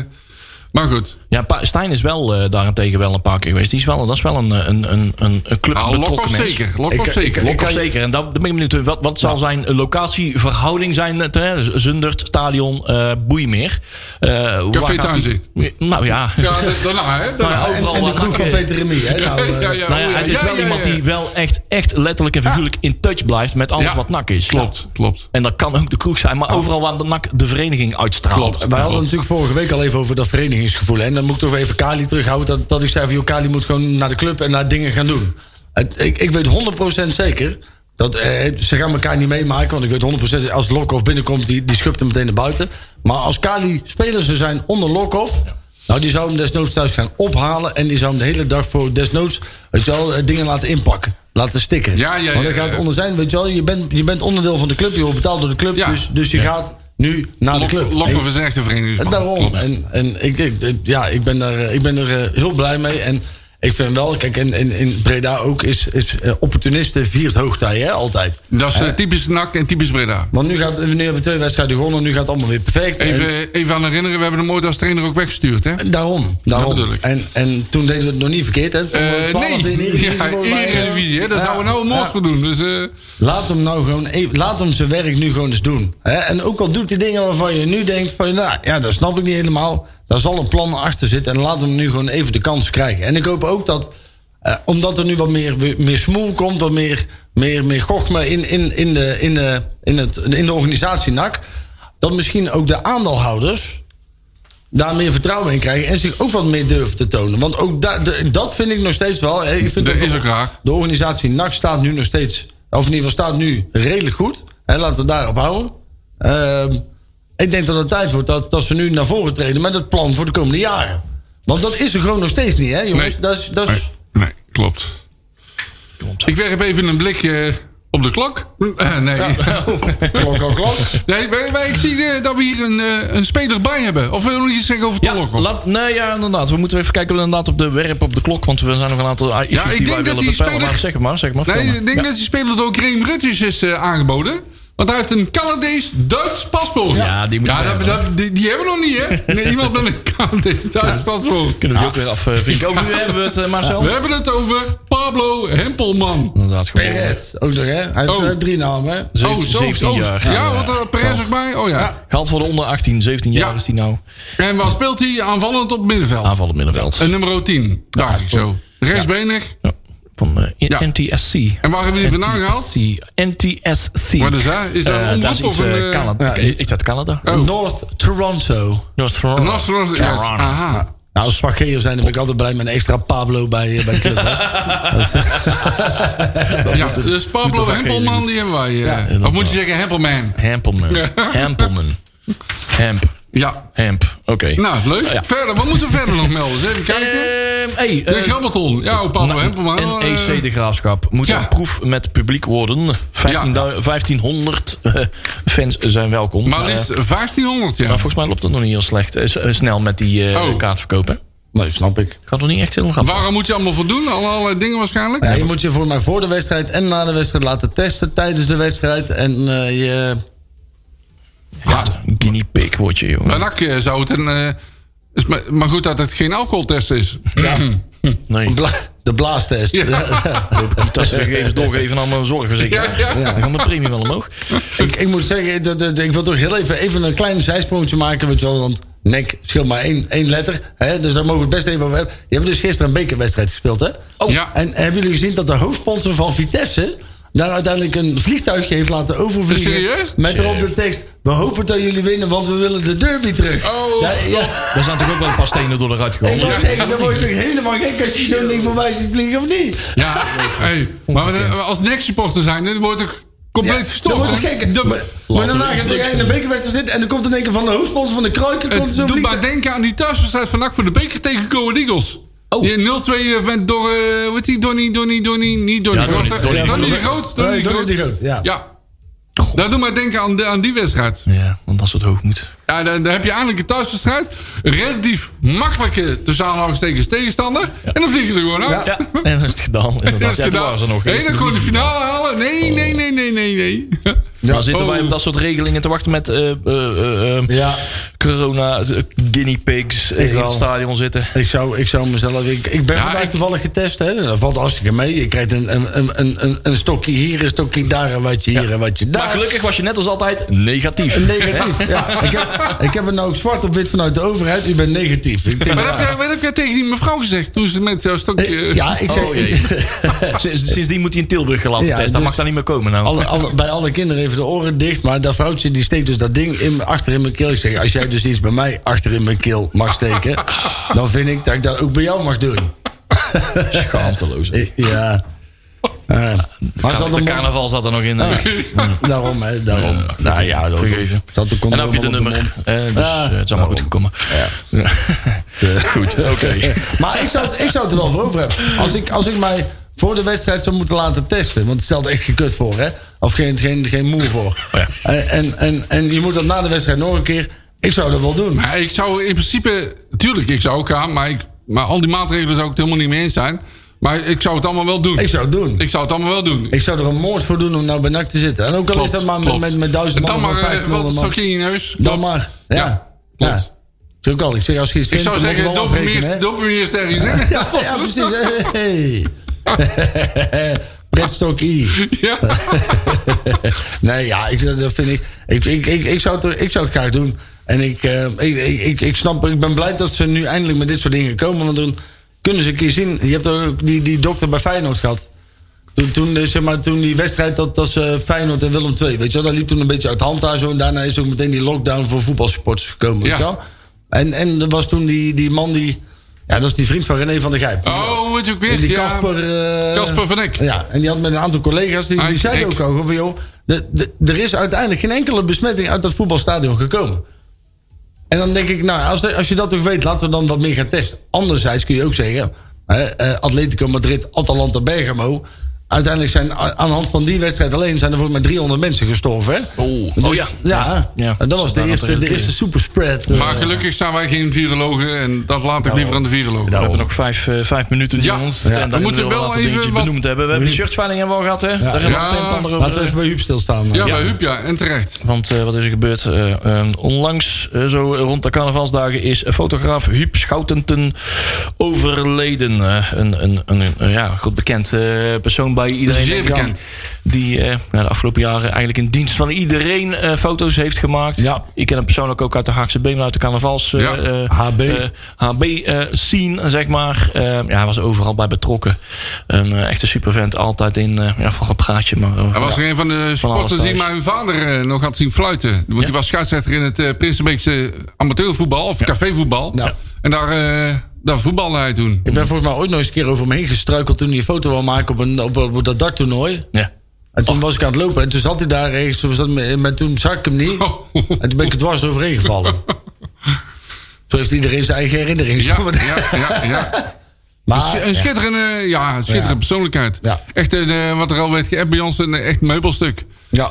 maar goed. Ja, pa- Stijn is wel eh, daarentegen wel een paar keer geweest. Die is wel, dat is wel een, eh, een, een, een, een club Nou, betrokken Lokhoff mens. zeker. Lokhoff Ik- zeker. Lokhoff zeker. En dat, dan ben ik benieuwd. eh, Wat, wat zal zijn locatieverhouding zijn? eh, ter- eh, Zundert, stadion, eh Boeimeer. Eh, waar gaat die- Tuinzicht. Nou ja. Ja, da- daarna, hè? Daarna. Maar overal En, en de wat kroeg van hakken. Peter Remy, hè? Nou, eh, Nou ja, het is oh ja, wel ja, iemand ja. die wel echt, echt letterlijk en figuurlijk in touch blijft met alles Ja, wat nak is. Klopt, klopt. En dat kan ook de kroeg zijn, maar overal waar de nak de vereniging uitstraalt. Klopt. Wij hadden natuurlijk vorige week al even over dat verenigingsgevoel. hè. En dan moet ik toch even Kali terughouden. Dat, dat ik zei van, joh, Kali moet gewoon naar de club en naar dingen gaan doen. Het- ik, ik weet 100% zeker. Dat, eh, ze gaan elkaar niet meemaken. Want ik weet 100% zeker, als Lokhoff binnenkomt, die, die schubt hem meteen naar buiten. Maar als Kali speler zou zijn onder Lokhoff... Nou, die zou hem desnoods thuis gaan ophalen. En die zou hem de hele dag voor desnoods weet je wel, eh, dingen laten inpakken. Laten stikken. Ja, ja, Want daar ja, gaat het ja. onder zijn. Weet je, wel, je, bent, je bent onderdeel van de club. Je wordt betaald door de club. Ja. Dus, dus je gaat nu naar de club. Lok- Lokhoff is echt een En verenigingsman. daarom. Klopt. En, en ik, ik, ik- ja, ik ben daar, eh, ik ben er eh, heel blij mee. En ik vind wel, kijk, in, in, in Breda ook is, is eh, opportunisten viert hoogtij, hè, altijd. Dat is eh, typisch NAC en typisch Breda. Want nu, gaat, nu hebben we twee wedstrijden gewonnen, nu gaat het allemaal weer perfect. En Even, even aan herinneren, we hebben hem ooit als trainer ook weggestuurd, hè? daarom. daarom. bedoel ik. en, en toen deden we het nog niet verkeerd, hè? Voor Eh, 12 in de nee, Eredivisie ja, volgens mij, hè. Eredivisie, hè? Daar Ja, zouden we nou een moord ja. voor doen. Dus, eh, Laat hem nou gewoon even, laat hem zijn werk nu gewoon eens doen. Hè? En ook al doet hij dingen waarvan je nu denkt van, nou ja, dat snap ik niet helemaal. Daar zal een plan achter zitten en laat hem nu gewoon even de kans krijgen. En ik hoop ook dat, eh, omdat er nu wat meer, weer- meer smoel komt, wat meer, meer, meer gochme in, in, in, de, in, de, in, het, in de organisatie NAC, dat misschien ook de aandeelhouders daar meer vertrouwen in krijgen en zich ook wat meer durven te tonen. Want ook da- de- dat vind ik nog steeds wel. hè, Ik vind Dat ook- is ook raar. de organisatie NAC staat nu nog steeds, of in ieder geval staat nu redelijk goed. Hè, laten we daarop houden. Ehm, ik denk dat het tijd wordt dat, dat ze nu naar voren treden met het plan voor de komende jaren. Want dat is er gewoon nog steeds niet, hè, jongens? Nee. Dat is, dat is, Nee, nee, klopt. Ik werp even een blik eh, op de klok. Eh, nee. Klok, klok, klok. nee, maar, maar ik zie eh, dat we hier een, eh, een speler bij hebben. Of wil je nog iets zeggen over de Ja, klok? laat, nee, ja, inderdaad. We moeten even kijken inderdaad op de werp op de klok. Want we zijn nog een aantal issues ik die denk wij dat willen die bepalen. speler- Maar zeg het maar, zeg het maar. Nee, vertel ik denk maar. dat die speler door Graham Rutjes is eh, aangeboden. Want hij heeft een Canadees-Duits paspoort. Ja, die moeten ja, we dat- hebben. dat- die, die hebben we nog niet, hè? Nee, iemand met een Canadees-Duits paspoort. Kunnen we die ook weer afvinken. Over u hebben we het, eh, Marcel. We hebben het over Pablo Hempelman. Inderdaad, gewoon. eh, Perez, ook nog, hè? Hij heeft Oh. eh, drie namen, hè? Zeven- oh, zo. 17 oh, jaar. Ja, want er Perez ook bij. Oh ja. Gehad worden onder 18, 17 jaar Ja. is die nou. En waar speelt hij? Aanvallend op het middenveld. Aanvallend middenveld. Een nummer 10. Daar, zo. Rechtsbenig. Ja. Van eh, Ja. NTSC. En waar hebben we die vandaan gehaald? NTSC. Wat is dat? Is dat een Eh, omroep dat is iets, of een, eh, eh, Canada. ja. iets uit Canada. Oh. North Toronto. Nostradamus. Nostros. yes. Aha. Nou, als Spargeer zijn, dan ben ik altijd blij met een extra Pablo bij, eh, bij de club. hè. Ja, dus Pablo doet de Hempelman, vakgever die hebben wij. eh. Ja, inderdaad. of moet je zeggen Hempelman? Hempelman. Hempelman. Hemp. Ja. Hemp. Oké. Nou, leuk. Ja. Verder, wat moeten we verder nog melden? Eens even kijken. Ehm, hey, de eh, Grammaton. Ja, oh, Pablo Hempelman. en E eh, EC de Graafschap moet ja. een proef met publiek worden. 15 1500 eh, fans zijn welkom. maar Eh, liefst 1500, ja. maar volgens mij loopt dat nog niet heel slecht. eh, s- eh, snel met die eh, Oh. kaartverkoop, hè? Nee, snap ik. Gaat nog niet echt heel gaan. Waarom moet je allemaal voldoen? Alle, allerlei dingen waarschijnlijk. Ja, je moet je voor mij voor de wedstrijd en na de wedstrijd laten testen tijdens de wedstrijd. En eh, je, Ja, guinea pig word je, jongen. Bij NAC eh, zou het een... eh, is maar, maar goed dat het geen alcoholtest is. Nee. bla- de blaastest. Dat ze de gegevens doorgeven aan mijn zorgverzekeraar. Ja, ja. Dan gaat mijn premie wel omhoog. ik, ik moet zeggen, dat, dat- ik wil toch heel even, even een klein zijsprongetje maken. Weet je wel, want nek scheelt maar één, één letter. Hè, dus daar mogen we het best even over hebben. Je hebt dus gisteren een bekerwedstrijd gespeeld, hè? Ja. En hebben jullie gezien dat de hoofdsponsor van Vitesse... daar uiteindelijk een vliegtuigje heeft laten overvliegen? Serieus? Met erop de tekst... We hopen dat jullie winnen, want we willen de derby terug. Oh, ja, ja. Daar zijn natuurlijk ook wel een paar stenen door de ruit Ik geholpen. wou zeggen, dan word je toch helemaal gek als je zo'n ding voorbij ziet vliegen, of niet? Ja, hey, maar wat- als NEC-supporter zijn, dan wordt er compleet gestopt. Dat wordt toch hè? gek? Dat- Maar, maar Laten we daarna eens gaat jij in niks de bekerwedstrijd zitten... en dan komt in één keer van de hoofdsponsor van de Kruiken... komt het zo'n doet maar vliegtuig... denken aan die thuiswedstrijd van NAC voor de beker tegen Go Ahead Eagles. Oh. Die 0-2 werd door, eh hoe heet die, Donny, Donny, Donny, niet Donny Ja, Donny, Groot. Donny. Donny de Nee, Groot. Nee, Donny de Donny Groot. de Groot, ja. Ja. Dat doet maar denken aan, de, aan die wedstrijd. Ja, want dat is het hoog moet. Ja, dan, dan heb je eindelijk een thuiswedstrijd. Een relatief makkelijke tussen aanhalingstekens tegenstander. En dan vliegen ze er gewoon uit. Ja, en dat is het gedaan. Inderdaad. Dat is ja, toen gedaan. waren ze nog. Nee, dan gewoon de finale halen. Nee, Oh. nee, nee, nee, nee, nee. Dan zitten wij Oh. op dat soort regelingen te wachten met eh, eh, eh, eh, Ja. corona, eh, guinea pigs eh, in wel. het stadion zitten. Ik zou, ik zou mezelf. Ik, ik ben vandaag ik- toevallig getest, hè? Dat valt hartstikke mee. Je krijgt een, een, een- een, een, een stokje hier, een stokje daar, een watje hier, en een watje daar. Maar gelukkig was je net als altijd negatief. Een negatief. Ja, ik, heb, ik heb het nou ook zwart op wit vanuit de overheid. U bent negatief. Ik denk, Wat heb, jij, wat heb jij tegen die mevrouw gezegd toen ze met jouw stokje... Eh, ja, ik zeg. Oh, jee. Sinds- Sindsdien moet hij in Tilburg gelaten Ja, testen. Dat dus- mag daar niet meer komen nou. Alle, alle- bij alle kinderen even de oren dicht. Maar dat vrouwtje die steekt dus dat ding in, achter in mijn keel. Ik zeg, als jij dus iets bij mij achter in mijn keel mag steken... dan vind ik dat ik dat ook bij jou mag doen. Schaamteloos. hè. Ja. Eh, maar ze had De een mond- Hm, carnaval zat er nog in. eh. Daarom, hè, daarom. nou ja, dat Vergeven. Zat de en dan heb je de condoom op nummer. mond. Ah. Nou, Eh, dus eh, Ja. het is allemaal goed gekomen. Ja. goed, oké. Eh, Maar ik zou, het, ik zou het er wel voor over hebben. Als ik, als ik mij voor de wedstrijd zou moeten laten testen. Want het stelt echt gekut voor, hè? Of geen, geen, geen moe voor. Oh en, en, en, en je moet dat na de wedstrijd nog een keer. Ik zou dat wel doen. Ja, ik zou in principe... Tuurlijk, ik zou ook gaan, maar, ik, maar al die maatregelen zou ik het helemaal niet mee eens zijn. Maar ik zou het allemaal wel doen. Ik zou het doen. Ik zou het allemaal wel doen. Ik zou er een moord voor doen om nou bij NAC te zitten. En ook al is dat maar met, met, met duizend dan man of maar, eh, wat 500 een man. stokje in je neus. Dan Klopt. maar. Ja. Ja, ja. klopt. Dat is ook al. Ik zeg als je iets Ik vindt, zou dan moet je zeggen, wel dopen afrekenen, eerst, hè? dopen eerst ergens in. Ja, ja, precies. Hey. Bredstok I. Ja. nee, ja, ik, dat vind ik ik, ik, ik, ik, zou het, er- ik zou het graag doen. En ik, eh, ik, ik, ik, ik snap, ik ben blij dat ze nu eindelijk met dit soort dingen komen. Want dan kunnen ze een keer zien. Je hebt ook die, die dokter bij Feyenoord gehad. Toen, toen, eh, zeg maar, toen die wedstrijd, dat was eh, Feyenoord en Willem II. Weet je wel, dat liep toen een beetje uit de hand daar zo. En daarna is ook meteen die lockdown voor voetbalsupporters gekomen. Weet je Ja. wel? En, en er was toen die, die man die... Ja, dat is die vriend van René van der Gijp. Oh, weet je ook En weer? die ja. Casper... eh, Casper van Eck. Ja, en die had met een aantal collega's... die, die Uit- zeiden Eck. ook al van... joh, de- de- er is uiteindelijk geen enkele besmetting... uit dat voetbalstadion gekomen. En dan denk ik, nou, als, de- als je dat toch weet... laten we dan wat meer gaan testen. Anderzijds kun je ook zeggen... hè, eh, Atletico Madrid, Atalanta Bergamo... uiteindelijk zijn a- aan de hand van die wedstrijd alleen... zijn er voor mij 300 mensen gestorven, hè? Oh, Dus- oh ja. Ja, Ja. en dat was de Zodat eerste, er- de eerste superspread. eh. Maar gelukkig zijn wij geen virologen en dat laat Nou, ik liever aan de virologen. We hebben nog vijf, eh, vijf minuten die Ja. aan ons. Ja. En We dan moeten moeten we wel wel even even wat- benoemd hebben. We hebben de shirtveiling hebben we al gehad, hè? Daar hebben we het een en ander over, Laten we even bij Huub stilstaan. dan. eh, Ja, Ja. bij Huub, ja, en terecht. Want eh, wat is er gebeurd? Eh, eh, onlangs, eh, zo rond de carnavalsdagen, is fotograaf Huub Schoutenten overleden. Eh, een een, een, een, ja, goed bekend eh, persoon bij iedereen. Zeer denk ik, bekend. Die eh, nou, de afgelopen jaren eigenlijk in dienst van iedereen eh, foto's heeft gemaakt. Ja. Ik ken hem persoonlijk ook uit de Haagse Benen, uit de carnavals... eh, Ja. eh, HB. eh, HB eh, scene, zeg maar. Eh, ja, hij was overal bij betrokken. Een eh, echte supervent, altijd in... eh, ja, voor een praatje, maar... eh, Hij was er een van de sporters die thuis. mijn vader eh, nog had zien fluiten. Want die was scheidsrechter in het eh, Prinsenbeekse amateurvoetbal, of cafévoetbal. Ja. En daar, eh daar voetbalde hij toen. Ik ben volgens mij ooit nog eens een keer over me heen gestruikeld... toen hij een foto wou maken op, een, op, op dat darttoernooi. Ja. En toen was ik aan het lopen en toen zat hij daar ergens. Toen zat me- Maar toen zag ik hem niet. En toen ben ik er dwars overheen gevallen. Zo heeft iedereen zijn eigen herinnering. Ja, eh, ja, ja, ja. Ah, Maar, Een schitterende, ja, een schitterende Ja. persoonlijkheid. Ja. Echt, een, eh, wat er al werd geappt bij ons, een eh, echt meubelstuk. ja.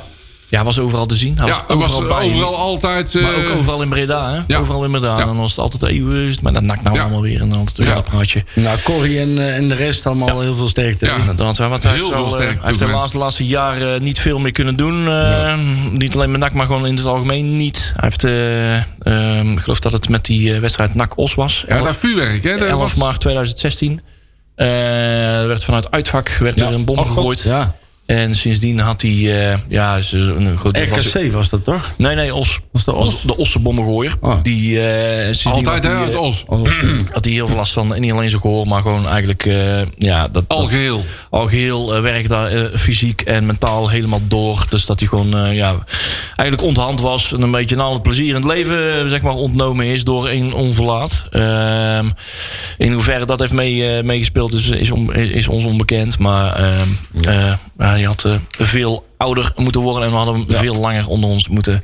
Ja, hij was overal te zien. Hij Ja, was overal was eh, bij. overal altijd... eh, Maar ook overal in Breda, hè? ja. Overal in Breda. Ja. En dan was het altijd eeuwig. Maar dat nakt nou Ja. allemaal weer. En dan Ja. natuurlijk een praatje. Nou, Corrie en, eh, en de rest allemaal heel veel sterkte. Ja. Want hij want hij Heel heeft, veel wel, eh, sterkte, hij heeft helaas mensen. de laatste jaren eh, niet veel meer kunnen doen. eh, Niet alleen met NAC, maar gewoon in het algemeen niet. Hij heeft, eh, ehm, ik geloof dat het met die eh, wedstrijd NAC-Os was. Ja, dat vuurwerk, hè. Dat 11 was- maart 2016. Eh, er werd vanuit uitvak werd er een bom Oh, God. gegooid. Ja. En sindsdien had hij... eh, ja, ze- een groot deel van zijn- RKC was dat toch? Nee, nee, Os. Was de Os? de ossenbommengooier. Ah. Die, eh, sindsdien had Altijd, hè, die, uit eh, Os. had hij heel veel last van. En niet alleen zijn gehoor, maar gewoon eigenlijk... eh, ja, dat, dat- Algeheel. al geheel eh, werkt daar eh, fysiek en mentaal helemaal door. Dus dat hij gewoon eh, ja, eigenlijk onthand was. En een beetje aan al het plezier in het leven eh, zeg maar, ontnomen is door één onverlaat. Ehm, in hoeverre dat heeft mee, eh, meegespeeld is, is, on- is ons onbekend. Maar ehm, eh, hij had eh, veel ouder moeten worden. En we hadden hem veel langer onder ons moeten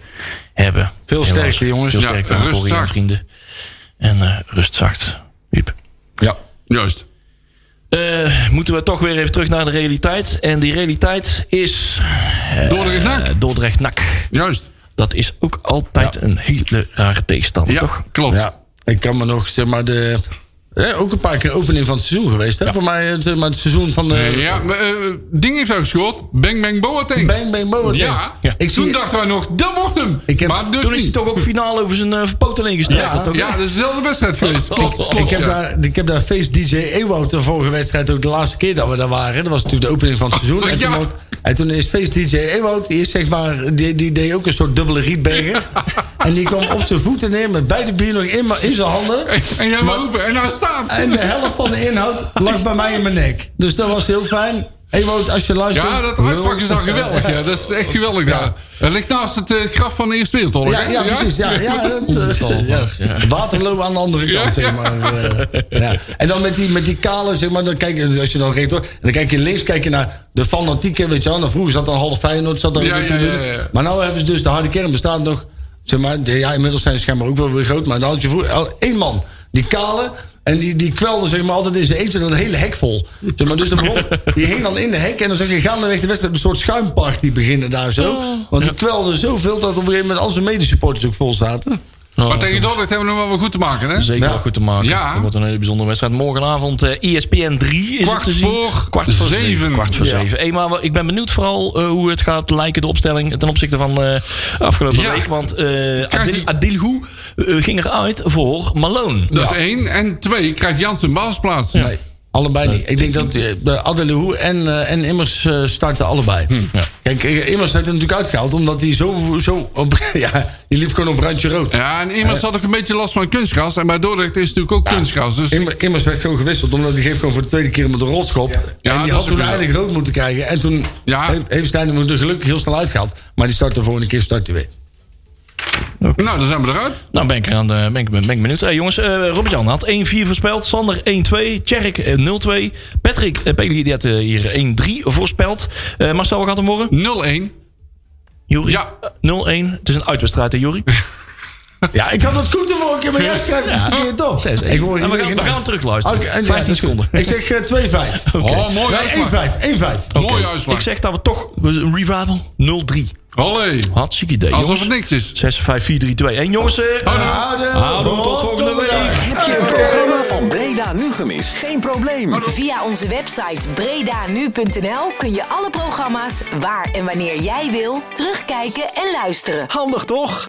hebben. Veel Helaas. sterker, jongens. Veel Ja, sterker aan rust Corrie en zacht. vrienden. En eh rust zacht. Huub. Ja. Juist. Eh, moeten we toch weer even terug naar de realiteit. En die realiteit is Door de eh, nak. Dordrecht NAC. Juist. Dat is ook altijd een hele rare tegenstander, Ja, toch? klopt. Ja, ik kan me nog, zeg maar, de... Ja, ook een paar keer opening van het seizoen geweest. Hè? Voor mij het, zeg maar, het seizoen van de... Ja, maar, eh, ding heeft daar gescoord. Bang Bang Boateng. Bang Bang Boa. Ja, Ja. Ik Ik toen zie- dachten wij nog, dat wordt hem. Ik heb- maar dus Toen is hij niet. toch ook finaal over zijn eh poten heen gestreken. ja, toch? Nou, ja, dat is dezelfde wedstrijd geweest. Klopt, klopt. Ik heb, ja. daar, ik heb daar feest DJ Ewout de vorige wedstrijd ook de laatste keer dat we daar waren. Dat was natuurlijk de opening van het seizoen. en, Oh, ja. toen, ook- en toen is feest DJ Ewout, die, is zeg maar, die, die deed ook een soort dubbele rietbeker. En die kwam op zijn voeten neer met beide bier nog in, ma- in zijn handen. En jij maar roepen, en nou staat. En de helft van de inhoud lag bij mij in mijn nek. Dus dat was heel fijn. Ewout, als je luistert... Ja, dat uitpak is dan geweldig. Ja. Dat is echt geweldig daar. Dat ligt naast het eh, graf van de Eerste Wereldoorlog. Ja, hè? ja, precies. Ja, ja, dat, eh, ja. Waterloo aan de andere kant, Ja, zeg maar. eh, ja. En dan met die, met die kale, zeg maar, dan kijk je, als je dan rechtdoor... En dan kijk je links, kijk je naar de fanatieke, weet je wel. Dan vroeger zat dan half Feyenoord, zat dan Ja, op de ja, tribune. ja, ja. Maar nou hebben ze dus, de harde kern bestaat nog... Zeg maar, de- ja, inmiddels zijn ze schijnbaar ook wel weer groot. Maar dan had je vroeger al één man, die kale... En die, die kwelde zeg maar, altijd in zijn eentje dan een hele hek vol. Zeg maar, dus de bron, die hing dan in de hek. En dan zag je gaandeweg de wedstrijd een soort schuimparty beginnen daar Oh. zo. Want die kwelde zoveel dat op een gegeven moment al zijn medesupporters ook vol zaten. Oh, Maar tegen Dordrecht hebben we nog wel wat goed te maken, hè? Zeker Ja. wel goed te maken. Ja. Dat wordt een hele bijzondere wedstrijd. Morgenavond eh ESPN 3 is Kwart het te zien. voor Kwart voor zeven. Kwart voor Ja. zeven. Hey, maar wel, ik ben benieuwd vooral eh, hoe het gaat lijken, de opstelling... ten opzichte van eh, afgelopen Ja. week. Want eh Adil, die- Adilhu eh, ging eruit voor Malone. Dat is één. En twee, krijgt Jansen basisplaats. Nee, allebei niet. Ik denk dat eh, Adelou en, eh, en Immers eh, starten allebei. Hm, Kijk, eh, Immers heeft het natuurlijk uitgehaald omdat hij zo... zo op, ja, die liep gewoon op randje rood. Ja, en immers had ook een beetje last van kunstgras. En bij Dordrecht is het natuurlijk ook kunstgras. Dus Immer- Immers werd gewoon gewisseld omdat die geeft gewoon voor de tweede keer met de rotschop. Ja, en die dat had is toen ook- eigenlijk rood moeten krijgen. En toen Ja. heeft, heeft Stijn hem er gelukkig heel snel uitgehaald. Maar die start de volgende keer start hij weer. nou, dan zijn we eruit. Nou, ben ik, eraan, eh, ben ik, ben ik benieuwd. Hey, jongens, eh Robert-Jan had 1-4 voorspeld. Sander 1-2. Tjerk eh, 0-2. Patrick eh, Peli die had eh, hier 1-3 voorspeld. Eh, Marcel, wat gaat hem worden? 0-1. Jury? Ja. eh, 0-1. Het is een uitwedstrijd, hè, Jury? Ja, ik had dat goed de vorige keer, maar jij schrijft het verkeerd op. Ik hoor Nou, hier we, gaan, we geen- gaan hem terugluisteren. Oké, en- 15 seconden. Ik zeg eh, 2-5. Oh, mooi Nee, uitslag. 1-5. 1-5. Oké. Mooi uitslag. Ik zeg dat we toch we- een revival 0-3. Allee. Hartstikke idee. Alsof het jongens. niks is. 6, 5, 4, 3, 2. En jongens, eh, Houden. houden tot volgende week. Heb je een programma van Breda nu gemist? Geen probleem. Via onze website bredanu.nl kun je alle programma's waar en wanneer jij wil terugkijken en luisteren. Handig toch?